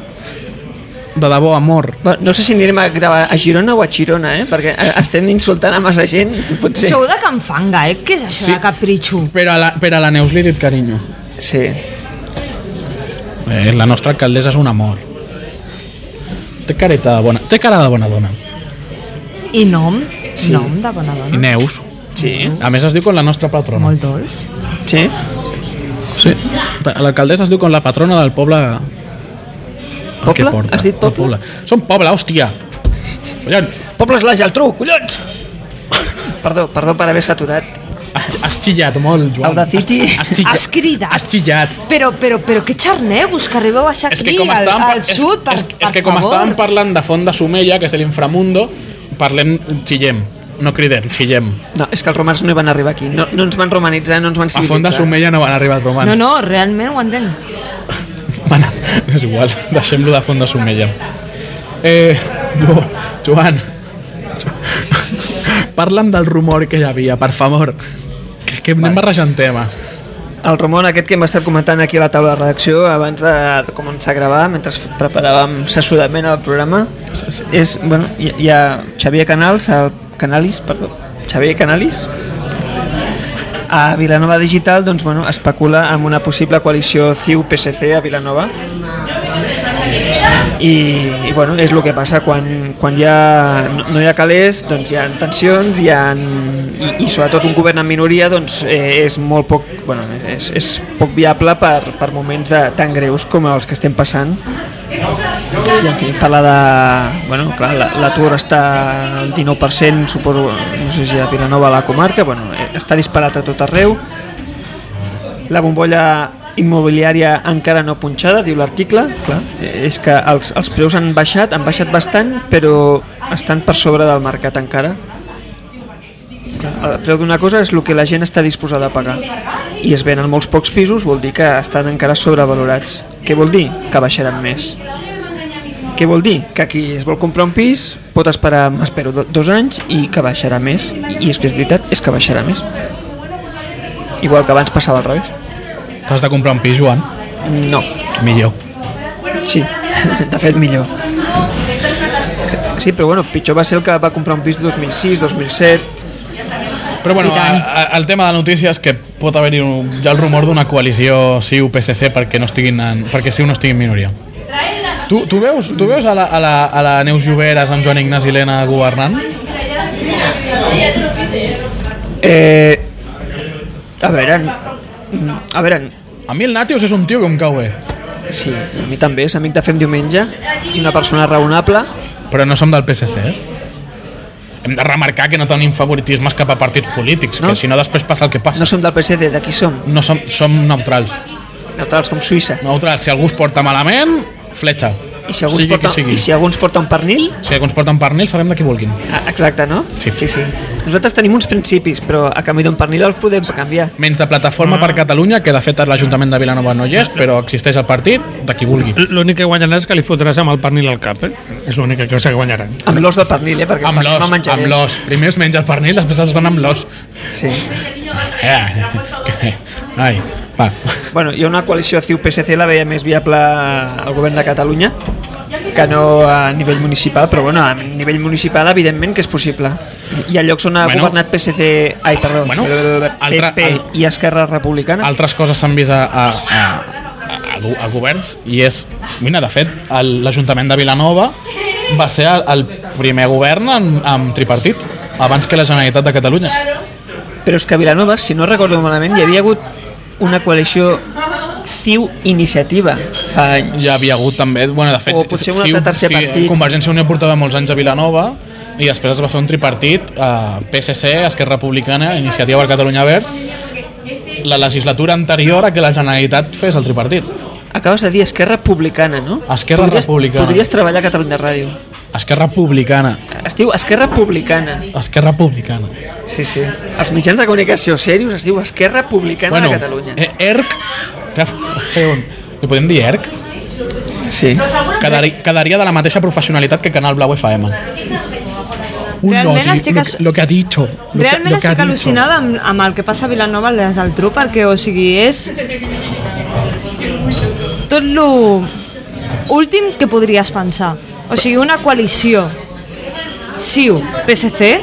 [SPEAKER 1] De debò, amor.
[SPEAKER 2] Bueno, No sé si anirem a gravar a Girona o a Girona, eh? Perquè eh, estem insultant a massa gent,
[SPEAKER 3] Sí.
[SPEAKER 2] potser.
[SPEAKER 3] Sou de Can Fanga, eh? Què és això
[SPEAKER 1] Sí.
[SPEAKER 3] sí. de capritxo?
[SPEAKER 1] Però a la, però a la Neus li he dit carinyo.
[SPEAKER 2] Sí.
[SPEAKER 1] Eh, la nostra alcaldessa és un amor. Té careta de bona... Té cara de bona dona.
[SPEAKER 3] I nom? Sí. Nom de bona
[SPEAKER 1] I
[SPEAKER 3] dona.
[SPEAKER 1] Neus.
[SPEAKER 2] Sí.
[SPEAKER 1] A més es diu com la nostra patrona.
[SPEAKER 3] Molt dolç.
[SPEAKER 2] Sí.
[SPEAKER 1] Sí, l'alcaldessa es diu com la patrona del poble Què
[SPEAKER 2] Poble?
[SPEAKER 1] porta?
[SPEAKER 2] Has dit
[SPEAKER 1] El
[SPEAKER 2] poble?
[SPEAKER 1] Som poble, hòstia. Collons,
[SPEAKER 2] Poble és la Geltrú, collons! Perdó, perdó per haver saturat.
[SPEAKER 1] has, has xillat molt, Joan.
[SPEAKER 2] El de City.
[SPEAKER 1] Has, has, xillat,
[SPEAKER 3] Has cridat.
[SPEAKER 1] Has xillat.
[SPEAKER 3] Però, però, però que xarnego, que arribeu a baixar
[SPEAKER 1] És
[SPEAKER 3] aquí,
[SPEAKER 1] que com
[SPEAKER 3] al,
[SPEAKER 1] estàvem,
[SPEAKER 3] al
[SPEAKER 1] par- és,
[SPEAKER 3] sud, per,
[SPEAKER 1] és, és
[SPEAKER 3] per
[SPEAKER 1] que com
[SPEAKER 3] favor.
[SPEAKER 1] estàvem parlant de Font de Somella, que és l'inframundo, parlem, xillem. No cridem, xillem.
[SPEAKER 2] No, és que els romans no hi van arribar aquí. No, no ens van romanitzar, no ens van
[SPEAKER 1] A Font de
[SPEAKER 2] civilitzar.
[SPEAKER 1] Somella no van arribar els romans.
[SPEAKER 3] No, no, realment ho entenc.
[SPEAKER 1] Bueno, és igual, deixem-lo de Font de Somella. Eh, Jo- Joan, parla'm del rumor que hi havia, per favor. Que, que anem barrejant temes.
[SPEAKER 2] El rumor aquest que hem estat comentant aquí a la taula de redacció abans de, de començar a gravar, mentre preparàvem sessudament el programa, és, bueno, hi, hi ha Xavier Canals, el Canalis, perdó, Xavier Canalis, a Vilanova Digital doncs, bueno, especula amb una possible coalició CiU-PSC a Vilanova i, i bueno, és el que passa quan, quan hi ha, no, no hi ha calés doncs hi ha tensions hi ha, i, i sobretot un govern en minoria doncs, eh, és molt poc bueno, és, és poc viable per, per moments de, tan greus com els que estem passant i en fi, parla de... Bueno, clar, la- l'atur està al 19%, suposo, no sé si a Vilanova a la comarca, bueno, eh, està disparat a tot arreu. La bombolla immobiliària encara no punxada, diu l'article, clar, eh, és que els, els preus han baixat, han baixat bastant, però estan per sobre del mercat encara. Clar, el preu d'una cosa és el que la gent està disposada a pagar i es venen molts pocs pisos, vol dir que estan encara sobrevalorats. Què vol dir? Que baixaran més. Què vol dir? Que qui es vol comprar un pis pot esperar, espero, do- dos anys i que baixarà més. I, i és que és veritat, és que baixarà més. Igual que abans passava al revés.
[SPEAKER 1] T'has de comprar un pis, Joan?
[SPEAKER 2] No,
[SPEAKER 1] Millor.
[SPEAKER 2] sí, de fet millor. Sí, però bueno, pitjor va ser el que va comprar un pis 2006, 2007...
[SPEAKER 1] Però bueno,
[SPEAKER 2] I tant.
[SPEAKER 1] a, a, el tema de la notícia és que pot haver-hi un- ja el rumor d'una coalició CiU-PSC perquè, no estiguin en, perquè CiU no estigui en minoria. Tu, tu, veus, tu veus a la, a, la, a la Neus Lloberes amb Joan Ignasi Lena governant?
[SPEAKER 2] Eh, a veure... mm, A veure,
[SPEAKER 1] A mi el Natius és un tio que em cau bé,
[SPEAKER 2] sí, a mi també, és amic de Fem Diumenge i una persona raonable
[SPEAKER 1] però no som del PSC, eh? Hem de remarcar que no tenim favoritismes cap a partits polítics,
[SPEAKER 2] No.
[SPEAKER 1] no? que si no després passa el que passa.
[SPEAKER 2] No som del PSC, d'aquí som.
[SPEAKER 1] No, no som, som neutrals.
[SPEAKER 2] Neutrals com Suïssa.
[SPEAKER 1] Neutrals, si algú es porta malament, fletxa.
[SPEAKER 2] I si algú, ens
[SPEAKER 1] sigui
[SPEAKER 2] porta,
[SPEAKER 1] que sigui.
[SPEAKER 2] I si algú ens porta un pernil,
[SPEAKER 1] Si algú ens porta un pernil, serem de qui vulguin.
[SPEAKER 2] ah, exacte, no?
[SPEAKER 1] Sí.
[SPEAKER 2] sí, sí. Nosaltres tenim uns principis, però a canvi d'un pernil els podem canviar.
[SPEAKER 1] Menys de Plataforma
[SPEAKER 2] Ah.
[SPEAKER 1] per Catalunya, que de fet l'Ajuntament de Vilanova no hi és, però existeix el partit de qui vulgui.
[SPEAKER 4] L'únic que guanyaran és que li fotràs amb el pernil al cap, eh? És l'única cosa que guanyaran.
[SPEAKER 2] Amb l'os del pernil, eh? Perquè el
[SPEAKER 1] Amb
[SPEAKER 2] pernil
[SPEAKER 1] l'os,
[SPEAKER 2] me'l menjaré.
[SPEAKER 1] amb l'os. Primer es menja el pernil, després es dona amb l'os.
[SPEAKER 2] Sí.
[SPEAKER 1] Eh, que- Ai, va.
[SPEAKER 2] Bueno, hi ha una coalició CiU-PSC, la veia més viable al govern de Catalunya que no a nivell municipal, però bueno, a nivell municipal evidentment que és possible. Hi ha llocs on ha
[SPEAKER 1] Bueno.
[SPEAKER 2] bueno, governat PSC, ai, perdó,
[SPEAKER 1] Bueno,
[SPEAKER 2] bueno,
[SPEAKER 1] altra-
[SPEAKER 2] PP
[SPEAKER 1] al-
[SPEAKER 2] i Esquerra Republicana.
[SPEAKER 1] Altres coses s'han vist a, a, a, a, a, go- a governs i és... Mira, de fet, el- l'Ajuntament de Vilanova va ser el- el primer govern amb, amb tripartit abans que la Generalitat de Catalunya.
[SPEAKER 2] Però és que a Vilanova, si no recordo malament, hi havia hagut una coalició CiU Iniciativa fa anys.
[SPEAKER 1] Hi havia hagut també, bueno, de fet,
[SPEAKER 2] O potser un altre
[SPEAKER 1] Ciu-
[SPEAKER 2] tercer
[SPEAKER 1] Ciu-
[SPEAKER 2] partit.
[SPEAKER 1] Convergència i Unió portava molts anys a Vilanova i després es va fer un tripartit eh, PSC, Esquerra Republicana, Iniciativa per Catalunya Verd la legislatura anterior a que la Generalitat fes el tripartit.
[SPEAKER 2] Acabes de dir Esquerra Republicana, no?
[SPEAKER 1] Esquerra
[SPEAKER 2] podries,
[SPEAKER 1] Republicana.
[SPEAKER 2] Podries treballar a Catalunya Ràdio.
[SPEAKER 1] Esquerra Republicana.
[SPEAKER 2] Es diu Esquerra Republicana.
[SPEAKER 1] Esquerra Republicana.
[SPEAKER 2] Sí, sí. Els mitjans de comunicació serios es diu Esquerra Republicana de Catalunya.
[SPEAKER 1] eh, ERC... Ja fer un... Li podem dir ERC?
[SPEAKER 2] Sí.
[SPEAKER 1] Quedaria, quedaria de la mateixa professionalitat que Canal Blau FM. Un
[SPEAKER 3] Realment
[SPEAKER 1] lo,
[SPEAKER 3] les chiques-
[SPEAKER 1] lo que ha dicho. Lo
[SPEAKER 3] Realment
[SPEAKER 1] que, lo que ha
[SPEAKER 3] estic
[SPEAKER 1] dicho.
[SPEAKER 3] al·lucinada amb, amb el que passa a Vilanova i la Geltrú perquè, o sigui, és tot lo últim que podries pensar. O sigui, una coalició CiU, PSC,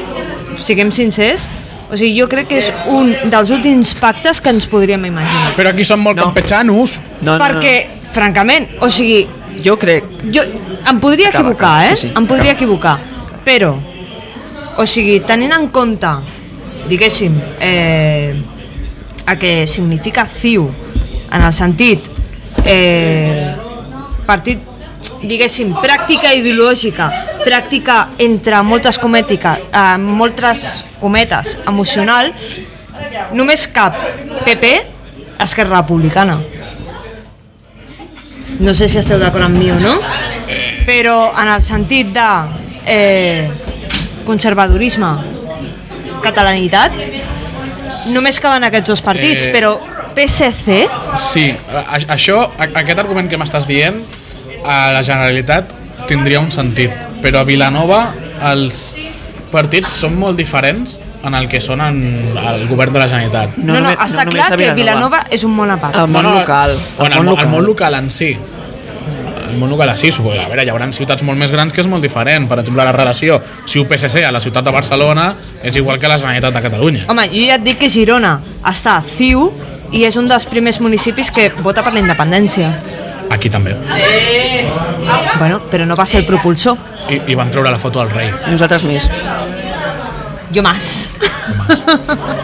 [SPEAKER 3] siguem sincers, o sigui, jo crec que és un dels últims pactes que ens podríem imaginar.
[SPEAKER 1] Però aquí són molt
[SPEAKER 2] No.
[SPEAKER 1] no. campechanos.
[SPEAKER 2] No, no,
[SPEAKER 3] perquè, francament, o sigui,
[SPEAKER 2] no. jo crec...
[SPEAKER 3] jo em podria
[SPEAKER 2] Acaba,
[SPEAKER 3] equivocar,
[SPEAKER 2] acaba,
[SPEAKER 3] eh?
[SPEAKER 2] sí, sí,
[SPEAKER 3] em podria
[SPEAKER 2] acaba.
[SPEAKER 3] equivocar, però, o sigui, tenint en compte, diguéssim, eh, el que significa CiU, en el sentit eh, partit diguéssim, pràctica ideològica, pràctica entre moltes comètica, eh, moltes cometes emocional, només cap PP, Esquerra Republicana. No sé si esteu d'acord amb mi o no, però en el sentit de eh, conservadorisme, catalanitat, només caben aquests dos partits,
[SPEAKER 1] Eh.
[SPEAKER 3] però PSC,
[SPEAKER 1] Sí, a- això, a- aquest argument que m'estàs dient, a la Generalitat tindria un sentit, però a Vilanova els partits són molt diferents en el que són en el govern de la Generalitat.
[SPEAKER 3] no, no, no,
[SPEAKER 2] només-
[SPEAKER 3] està
[SPEAKER 2] només
[SPEAKER 3] clar
[SPEAKER 2] a
[SPEAKER 3] que Vilanova és un món a part.
[SPEAKER 2] El món
[SPEAKER 1] No, no,
[SPEAKER 2] local.
[SPEAKER 1] Bueno, el, món local. el món local en si. El món local sí, suposo. A veure, hi haurà ciutats molt més grans que és molt diferent. Per exemple, la relació CiU-PSC a la ciutat de Barcelona és igual que la Generalitat de Catalunya.
[SPEAKER 3] Home, jo ja et dic que Girona està CiU i és un dels primers municipis que vota per la independència.
[SPEAKER 1] Aquí també.
[SPEAKER 3] Bueno, però no va ser el propulsor.
[SPEAKER 1] I, i van treure la foto al rei.
[SPEAKER 2] Nosaltres més.
[SPEAKER 3] Jo més.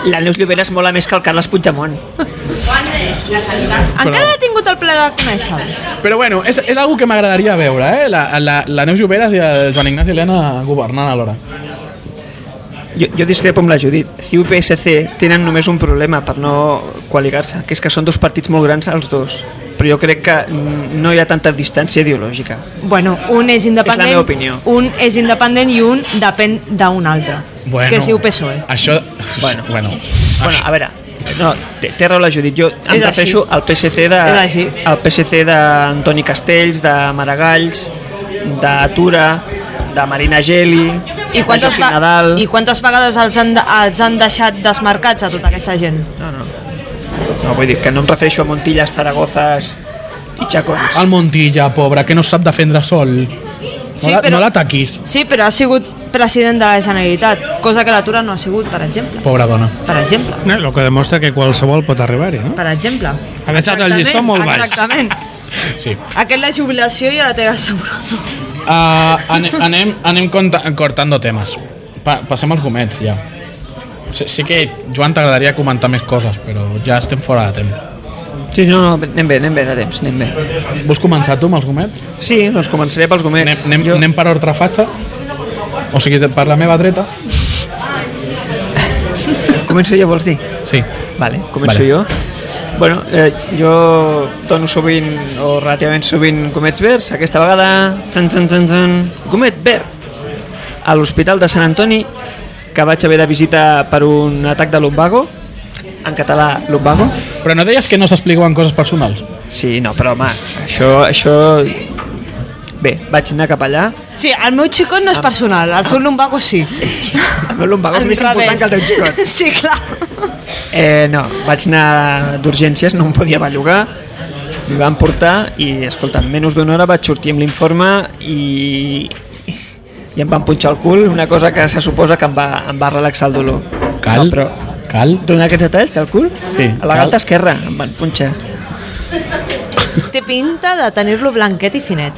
[SPEAKER 2] La Neus Llobera es mola més que el Carles Puigdemont.
[SPEAKER 3] Encara no he tingut el plaer de conèixer-lo.
[SPEAKER 1] Però bueno, és, és algo que m'agradaria veure, eh? La, la, la Neus Lloberes i el Joan Ignasi Helena governant alhora.
[SPEAKER 2] Jo, jo discrepo amb la Judit. CiU i PSC tenen només un problema per no qualigar-se, que és que són dos partits molt grans els dos. Però jo crec que mm, no hi ha tanta distància ideològica.
[SPEAKER 3] Bueno, un és independent,
[SPEAKER 2] meva opinió.
[SPEAKER 3] un és independent i un depèn d'un altre,
[SPEAKER 1] Bueno,
[SPEAKER 3] que es diu PSOE.
[SPEAKER 1] Això...
[SPEAKER 2] Bueno.
[SPEAKER 1] bueno.
[SPEAKER 2] Bueno, a veure, no, té, té raó la Judit. Jo em
[SPEAKER 3] És
[SPEAKER 2] refereixo
[SPEAKER 3] així.
[SPEAKER 2] al PSC de,
[SPEAKER 3] És així.
[SPEAKER 2] al PSC d'Antoni Castells, de Maragalls, de Tura, de Marina Geli,
[SPEAKER 3] I
[SPEAKER 2] de
[SPEAKER 3] quantes,
[SPEAKER 2] Joaquim
[SPEAKER 3] va-
[SPEAKER 2] Nadal...
[SPEAKER 3] I quantes vegades els han, de- els han deixat desmarcats a tota aquesta gent?
[SPEAKER 2] No, no. No, vull dir que no em refereixo a Montillas, Zaragozas i Chacons.
[SPEAKER 1] El Montilla, pobre, que no sap defendre sol.
[SPEAKER 3] Sí,
[SPEAKER 1] no la-
[SPEAKER 3] però-
[SPEAKER 1] no l'ataquis,
[SPEAKER 3] Sí, però ha sigut president de la Generalitat, cosa que l'atura no ha sigut, per exemple.
[SPEAKER 1] pobra dona.
[SPEAKER 3] Per exemple.
[SPEAKER 4] No, Eh, lo que demostra que qualsevol pot arribar-hi, no?
[SPEAKER 3] per exemple.
[SPEAKER 4] Ha deixat el llistó
[SPEAKER 3] Exactament,
[SPEAKER 4] molt baix.
[SPEAKER 3] Exactament.
[SPEAKER 1] Sí.
[SPEAKER 3] Aquest la jubilació ja la té assegurada.
[SPEAKER 1] Uh, anem, anem conta- cortando temes. Pa, passem als gomets, ja. Sí, sí que, Joan, t'agradaria comentar més coses, però ja estem fora de temps.
[SPEAKER 2] Sí, no, no, anem bé, anem bé de temps, anem bé.
[SPEAKER 1] Vols començar tu amb els gomets?
[SPEAKER 2] Sí, doncs començaré pels gomets.
[SPEAKER 1] Anem, anem, jo... anem per ordre fatxa? O sigui, per la meva dreta?
[SPEAKER 2] Començo jo, vols dir?
[SPEAKER 1] Sí.
[SPEAKER 2] Vale, començo
[SPEAKER 1] Vale.
[SPEAKER 2] vale. jo. Bueno, eh, jo dono sovint, o relativament sovint, gomets verds. Aquesta vegada, tan, tan, tan, tan, gomet verd a l'Hospital de Sant Antoni, que vaig haver de visitar per un atac de lumbago, en català lumbago.
[SPEAKER 1] Però no deies que no s'explicaven coses personals?
[SPEAKER 2] Sí, no, però home, això... això... Bé, vaig anar cap allà.
[SPEAKER 3] Sí, el meu xicot no és personal, el seu lumbago sí.
[SPEAKER 2] El meu lumbago és
[SPEAKER 3] Al
[SPEAKER 2] Ah. més important
[SPEAKER 3] revés.
[SPEAKER 2] que el teu xicot.
[SPEAKER 3] Sí, clar.
[SPEAKER 2] Eh, no, vaig anar d'urgències, no em podia bellugar, m'hi van portar i, escolta, en menys d'una hora vaig sortir amb l'informe i, i em van punxar el cul, una cosa que se suposa que em va, em va relaxar el dolor.
[SPEAKER 1] Cal?
[SPEAKER 2] No, però
[SPEAKER 1] Cal?
[SPEAKER 2] donar aquests detalls del cul?
[SPEAKER 1] Sí,
[SPEAKER 2] A la
[SPEAKER 1] cal.
[SPEAKER 2] galta esquerra em van punxar.
[SPEAKER 3] Té pinta de tenir-lo blanquet i finet.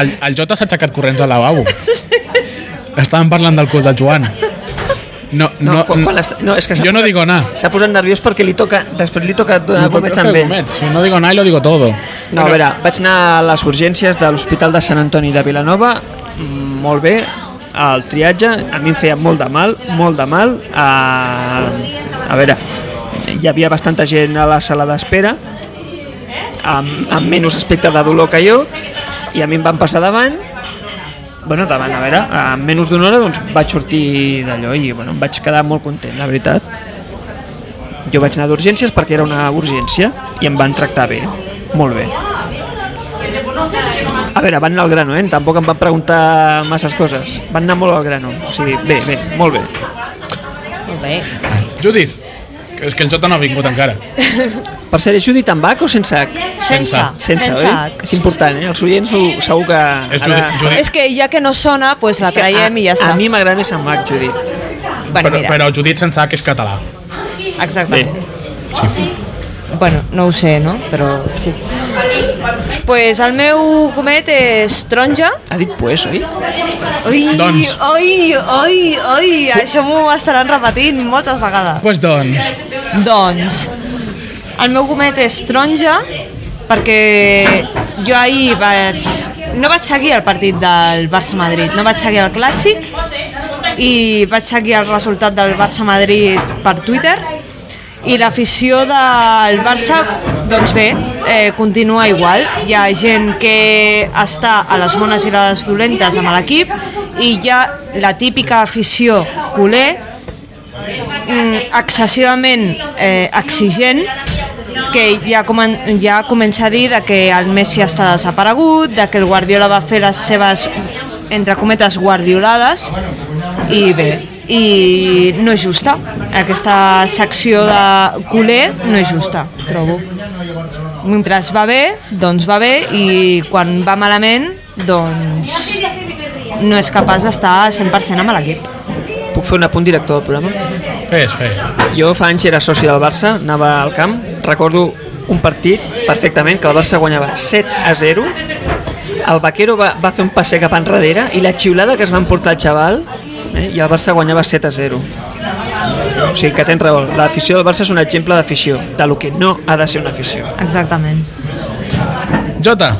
[SPEAKER 1] El, el Jota s'ha aixecat corrents al lavabo. Estàvem parlant del cul del Joan. No,
[SPEAKER 2] No,
[SPEAKER 1] no,
[SPEAKER 2] quan, quan est... no és que s'ha
[SPEAKER 1] jo no
[SPEAKER 2] posat-
[SPEAKER 1] digo na.
[SPEAKER 2] S'ha posat nerviós perquè li toca, després li toca donar Ah, gomets amb ell.
[SPEAKER 1] Yo no digo nada y lo digo todo.
[SPEAKER 2] No, a veure, vaig anar a les urgències de l'Hospital de Sant Antoni de Vilanova, mm, molt bé, el triatge, a mi em feia molt de mal, molt de mal. Ah, A, a veure, hi havia bastanta gent a la sala d'espera, amb, amb menys aspecte de dolor que jo, i a mi em van passar davant, bueno, davant, a veure, en menys d'una hora doncs, vaig sortir d'allò i bueno, em vaig quedar molt content, la veritat. Jo vaig anar d'urgències perquè era una urgència i em van tractar bé, molt bé. A veure, van anar al grano, eh? Tampoc em van preguntar masses coses. Van anar molt al grano. O sigui, bé, bé, molt bé.
[SPEAKER 3] Molt bé.
[SPEAKER 1] Judith, que és que el Jota no ha vingut encara.
[SPEAKER 2] Per ser Judit amb H o sense H?
[SPEAKER 3] Sense,
[SPEAKER 2] Sense, oi? És important, eh? Els oients ho, segur que...
[SPEAKER 1] És Judit- Judit.
[SPEAKER 3] És que ja que no sona, pues la
[SPEAKER 2] És que
[SPEAKER 3] traiem
[SPEAKER 2] a,
[SPEAKER 3] i ja està.
[SPEAKER 2] A mi m'agrada més amb H, Judit.
[SPEAKER 3] bueno,
[SPEAKER 1] però,
[SPEAKER 3] mira,
[SPEAKER 1] però Judit sense H és català.
[SPEAKER 3] Exactament. Bueno, no ho sé, no? Però sí. Pues el meu comet és taronja.
[SPEAKER 2] Ha dit pues, oi?
[SPEAKER 3] Ui,
[SPEAKER 1] Doncs.
[SPEAKER 3] ui, ui, ui, això m'ho estaran repetint moltes vegades.
[SPEAKER 1] Pues doncs,
[SPEAKER 3] Doncs, El meu gomet és taronja perquè jo ahir vaig, no vaig seguir el partit del Barça-Madrid, no vaig seguir el Clàssic i vaig seguir el resultat del Barça-Madrid per Twitter i l'afició del Barça, doncs bé, eh, continua igual. Hi ha gent que està a les bones i les dolentes amb l'equip i hi ha la típica afició culer mm, excessivament eh, exigent que ja, comen ja comença a dir de que el Messi està desaparegut, de que el Guardiola va fer les seves, entre cometes, guardiolades, i bé, i no és justa. Aquesta secció de culer no és justa, trobo. Mentre va bé, doncs va bé, i quan va malament, doncs no és capaç d'estar 100% amb l'equip.
[SPEAKER 2] Puc fer un apunt director del programa?
[SPEAKER 1] Fes, fes.
[SPEAKER 2] Jo fa anys era soci del Barça, anava al camp, recordo un partit perfectament que el Barça guanyava 7 a 0 el Vaquero va, va fer un passe cap enrere i la xiulada que es va emportar el xaval eh, i el Barça guanyava 7 a 0 o sigui que tens raó l'afició del Barça és un exemple d'afició de lo que no ha de ser una afició
[SPEAKER 3] Exactament.
[SPEAKER 1] Jota,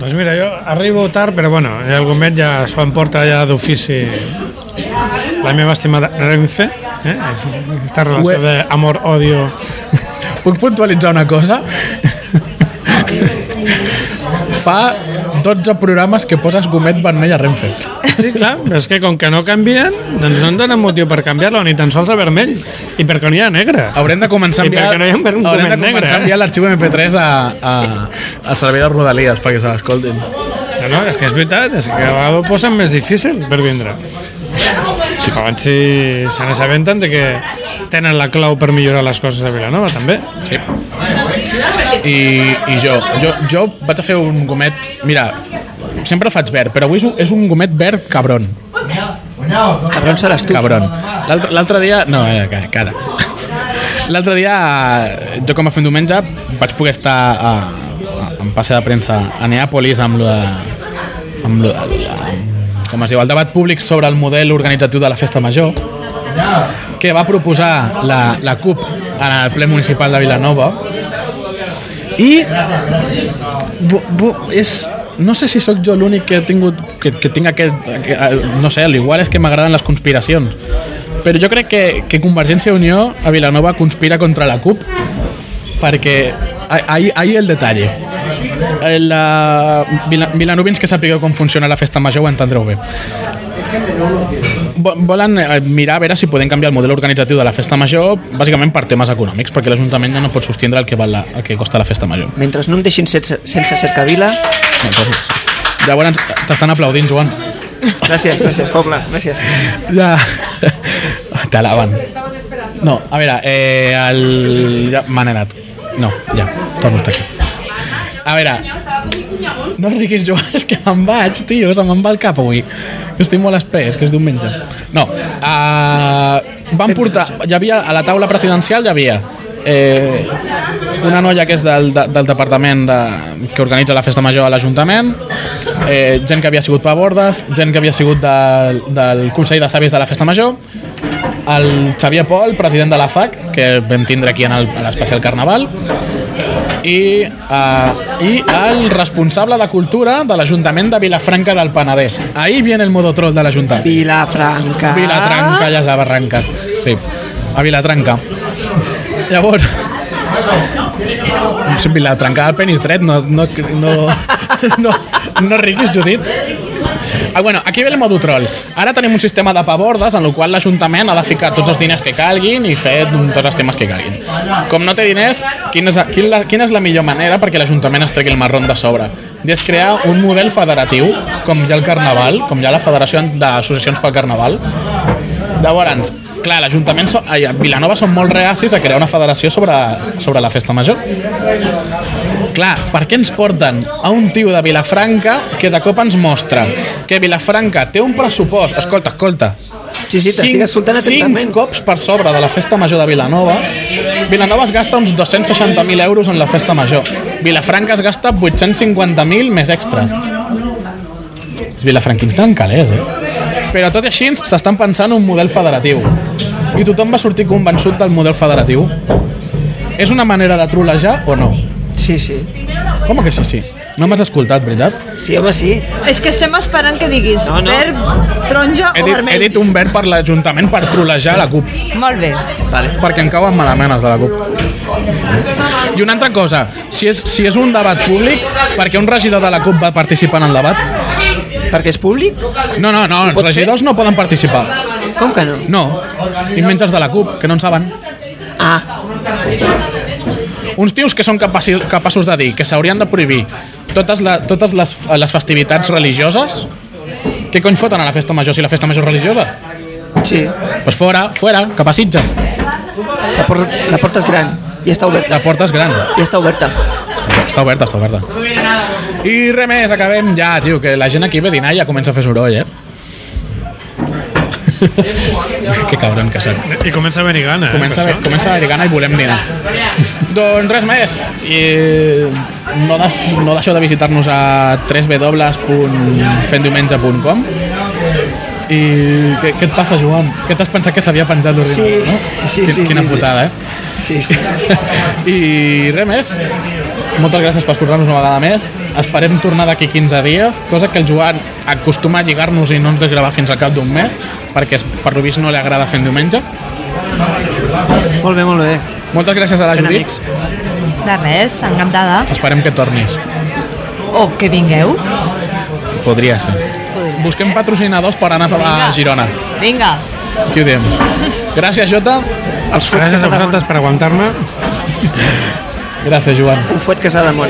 [SPEAKER 4] Doncs mira, jo arribo tard, però bueno, eh, ja el gomet ja s'ho emporta ja d'ofici la meva estimada Renfe, eh? aquesta relació
[SPEAKER 1] Ué.
[SPEAKER 4] d'amor-odio.
[SPEAKER 1] puc puntualitzar una cosa? Fa 12 programes que poses gomet vermell a Renfe.
[SPEAKER 4] Sí, clar, però és que com que no canvien, doncs no en donen motiu per canviar-lo, ni tan sols a vermell, i perquè no hi ha negre.
[SPEAKER 1] Haurem de començar a
[SPEAKER 4] I
[SPEAKER 1] enviar,
[SPEAKER 4] perquè no hi ha un vermell
[SPEAKER 1] haurem de
[SPEAKER 4] negre,
[SPEAKER 1] començar a
[SPEAKER 4] eh?
[SPEAKER 1] enviar l'arxiu MP3 a, a, al servei de Rodalies perquè se l'escoltin.
[SPEAKER 4] No, no, és que és veritat, és que a vegades ho posen més difícil per vindre. Si abans si se n'assabenten de que tenen la clau per millorar les coses a Vilanova, també.
[SPEAKER 1] Sí. I, i jo, jo, jo vaig a fer un gomet... Mira, sempre el faig verd, però avui és un, és un gomet verd cabron.
[SPEAKER 2] cabron seràs tu
[SPEAKER 1] Cabron. L'altre- L'altre dia... No, eh, ca- cara. L'altre dia, eh, jo com a fent diumenge, vaig poder estar a, a, en passe de premsa a Neàpolis amb lo de... Amb lo de amb- com es diu, el debat públic sobre el model organitzatiu de la festa major que va proposar la, la CUP en el ple municipal de Vilanova i bu, bu, és, no sé si sóc jo l'únic que he tingut que, que tinc aquest, que, eh, no sé, l'igual és que m'agraden les conspiracions però jo crec que, que Convergència i Unió a Vilanova conspira contra la CUP perquè ah- ahir, ahir el detall Eh, la, Vila- vilanovins que sapigueu com funciona la festa major ho entendreu bé Vo- volen eh, mirar a veure si podem canviar el model organitzatiu de la festa major bàsicament per temes econòmics perquè l'Ajuntament ja no pot sostindre el que, val la, el que costa la festa major
[SPEAKER 2] mentre no em deixin sense, sense cercavila
[SPEAKER 1] Entonces, llavors t'estan aplaudint, Joan.
[SPEAKER 2] gràcies, gràcies, poble, gràcies
[SPEAKER 1] Ja. T'alaben. No, a veure, eh, el... Ja, me n'he anat. No, ja, torno a estar aquí. A ah, veure, no riguis, Joan, és que me'n vaig, tio, se me'n va el cap avui. Estic molt espès, que és diumenge. No, uh, van portar... Hi havia, a la taula presidencial hi havia eh, una noia que és del, de, del departament de, que organitza la festa major a l'Ajuntament, eh, gent que havia sigut pa bordes, gent que havia sigut del, del Consell de Sàvies de la Festa Major, el Xavier Pol, president de la FAC, que vam tindre aquí en el- a l'especial Carnaval, i, uh, i el responsable de cultura de l'Ajuntament de Vilafranca del Penedès. Ahí viene el modotrol de l'Ajuntament.
[SPEAKER 2] Vilafranca
[SPEAKER 1] Vilatranca, ja a Barranques. Sí, a Vilatranca. Llavors... Sí, Vilatranca, el penis dret, no, no, no, no, no riguis, Judit. Ah, bueno, aquí ve el modo troll. Ara tenim un sistema de pabordes en el qual l'Ajuntament ha de ficar tots els diners que calguin i fer tots els temes que calguin. Com no té diners, quina és, quin la, quina és la millor manera perquè l'Ajuntament es tregui el marron de sobre? I és crear un model federatiu, com hi ha el Carnaval, com hi ha la Federació d'Associacions pel Carnaval. Llavors, clar, l'Ajuntament, so, ai, a Vilanova són molt reacis a crear una federació sobre, sobre la festa major. Clar, per què ens porten a un tio de Vilafranca que de cop ens mostra que Vilafranca té un pressupost... Escolta, escolta.
[SPEAKER 2] sí, sí, t'estic escoltant atentament
[SPEAKER 1] cinc cops per sobre de la festa major de Vilanova. Vilanova es gasta uns 260.000 euros en la festa major. Vilafranca es gasta 850.000 més extras. Els vilafranquins tenen calés, eh? Però tot i així s'estan pensant un model federatiu. I tothom va sortir convençut del model federatiu. És una manera de trolejar o no?
[SPEAKER 2] Sí, sí.
[SPEAKER 1] Com que sí, sí? No m'has escoltat, veritat?
[SPEAKER 2] Sí, home, sí.
[SPEAKER 3] És que estem esperant que diguis
[SPEAKER 2] No, no.
[SPEAKER 3] verd, taronja
[SPEAKER 1] He
[SPEAKER 3] o
[SPEAKER 1] dit, he
[SPEAKER 3] vermell.
[SPEAKER 1] dit un verd per l'Ajuntament per trolejar la CUP.
[SPEAKER 3] Molt bé.
[SPEAKER 2] Vale.
[SPEAKER 1] perquè em cauen malament els de la CUP. I una altra cosa, si és, si és un debat públic, perquè un regidor de la CUP va participar en el debat?
[SPEAKER 2] Perquè és públic?
[SPEAKER 1] No, no, no, els
[SPEAKER 2] Pot ser?
[SPEAKER 1] regidors no poden participar.
[SPEAKER 2] Com que no?
[SPEAKER 1] No, i menys els de la CUP, que no en saben.
[SPEAKER 2] Ah,
[SPEAKER 1] Uns tios que són capaci, capaços de dir que s'haurien de prohibir totes, la, totes les, les festivitats religioses, què cony foten a la festa major si la festa major és religiosa?
[SPEAKER 2] sí.
[SPEAKER 1] Pues fora, fora, que a Sitges.
[SPEAKER 2] La, por la porta és gran i està oberta.
[SPEAKER 1] La porta és gran.
[SPEAKER 2] I està oberta.
[SPEAKER 1] Està oberta, està oberta. I res més, acabem ja, tio, que la gent aquí ve a dinar i ja comença a fer soroll, eh? que cabron que sóc.
[SPEAKER 4] I comença a venir gana,
[SPEAKER 1] Comença, a,
[SPEAKER 4] eh, per això.
[SPEAKER 1] comença a haver gana i volem dinar. doncs res més. I no, des, no deixeu de visitar-nos a www.fendiumenge.com i què, què et passa, Joan? Què t'has pensat que s'havia penjat l'ordinador?
[SPEAKER 2] Sí,
[SPEAKER 1] no?
[SPEAKER 2] sí,
[SPEAKER 1] Quin-
[SPEAKER 2] sí,
[SPEAKER 1] Quina
[SPEAKER 2] sí, sí.
[SPEAKER 1] putada, eh?
[SPEAKER 2] Sí, sí.
[SPEAKER 1] I res més. Moltes gràcies per escoltar-nos una vegada més. Esperem tornar d'aquí 15 dies, cosa que el Joan acostuma a lligar-nos i no ens de gravar fins al cap d'un mes, perquè es- per lo vist no li agrada fer en diumenge.
[SPEAKER 2] Molt bé, molt bé.
[SPEAKER 1] Moltes gràcies a la
[SPEAKER 2] Ben
[SPEAKER 1] Judit.
[SPEAKER 2] amics.
[SPEAKER 3] De res, encantada.
[SPEAKER 1] Esperem que tornis.
[SPEAKER 3] O que vingueu.
[SPEAKER 1] Podria ser. Busquem patrocinadors per anar a Girona.
[SPEAKER 3] Vinga.
[SPEAKER 1] Qui ho diem? Gràcies, Jota.
[SPEAKER 2] Els fuets que
[SPEAKER 4] Gràcies
[SPEAKER 2] s'ha
[SPEAKER 4] a
[SPEAKER 2] de
[SPEAKER 4] vosaltres per aguantar-me.
[SPEAKER 1] Gràcies, Joan.
[SPEAKER 2] Un fuet que s'ha de món.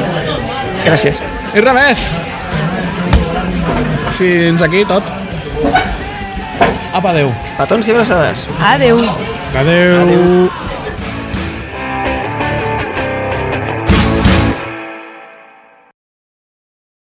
[SPEAKER 2] Gràcies.
[SPEAKER 1] I res més. Fins aquí tot. Apa, adeu.
[SPEAKER 2] Petons i abraçades.
[SPEAKER 3] Adeu.
[SPEAKER 4] Adeu. Adeu.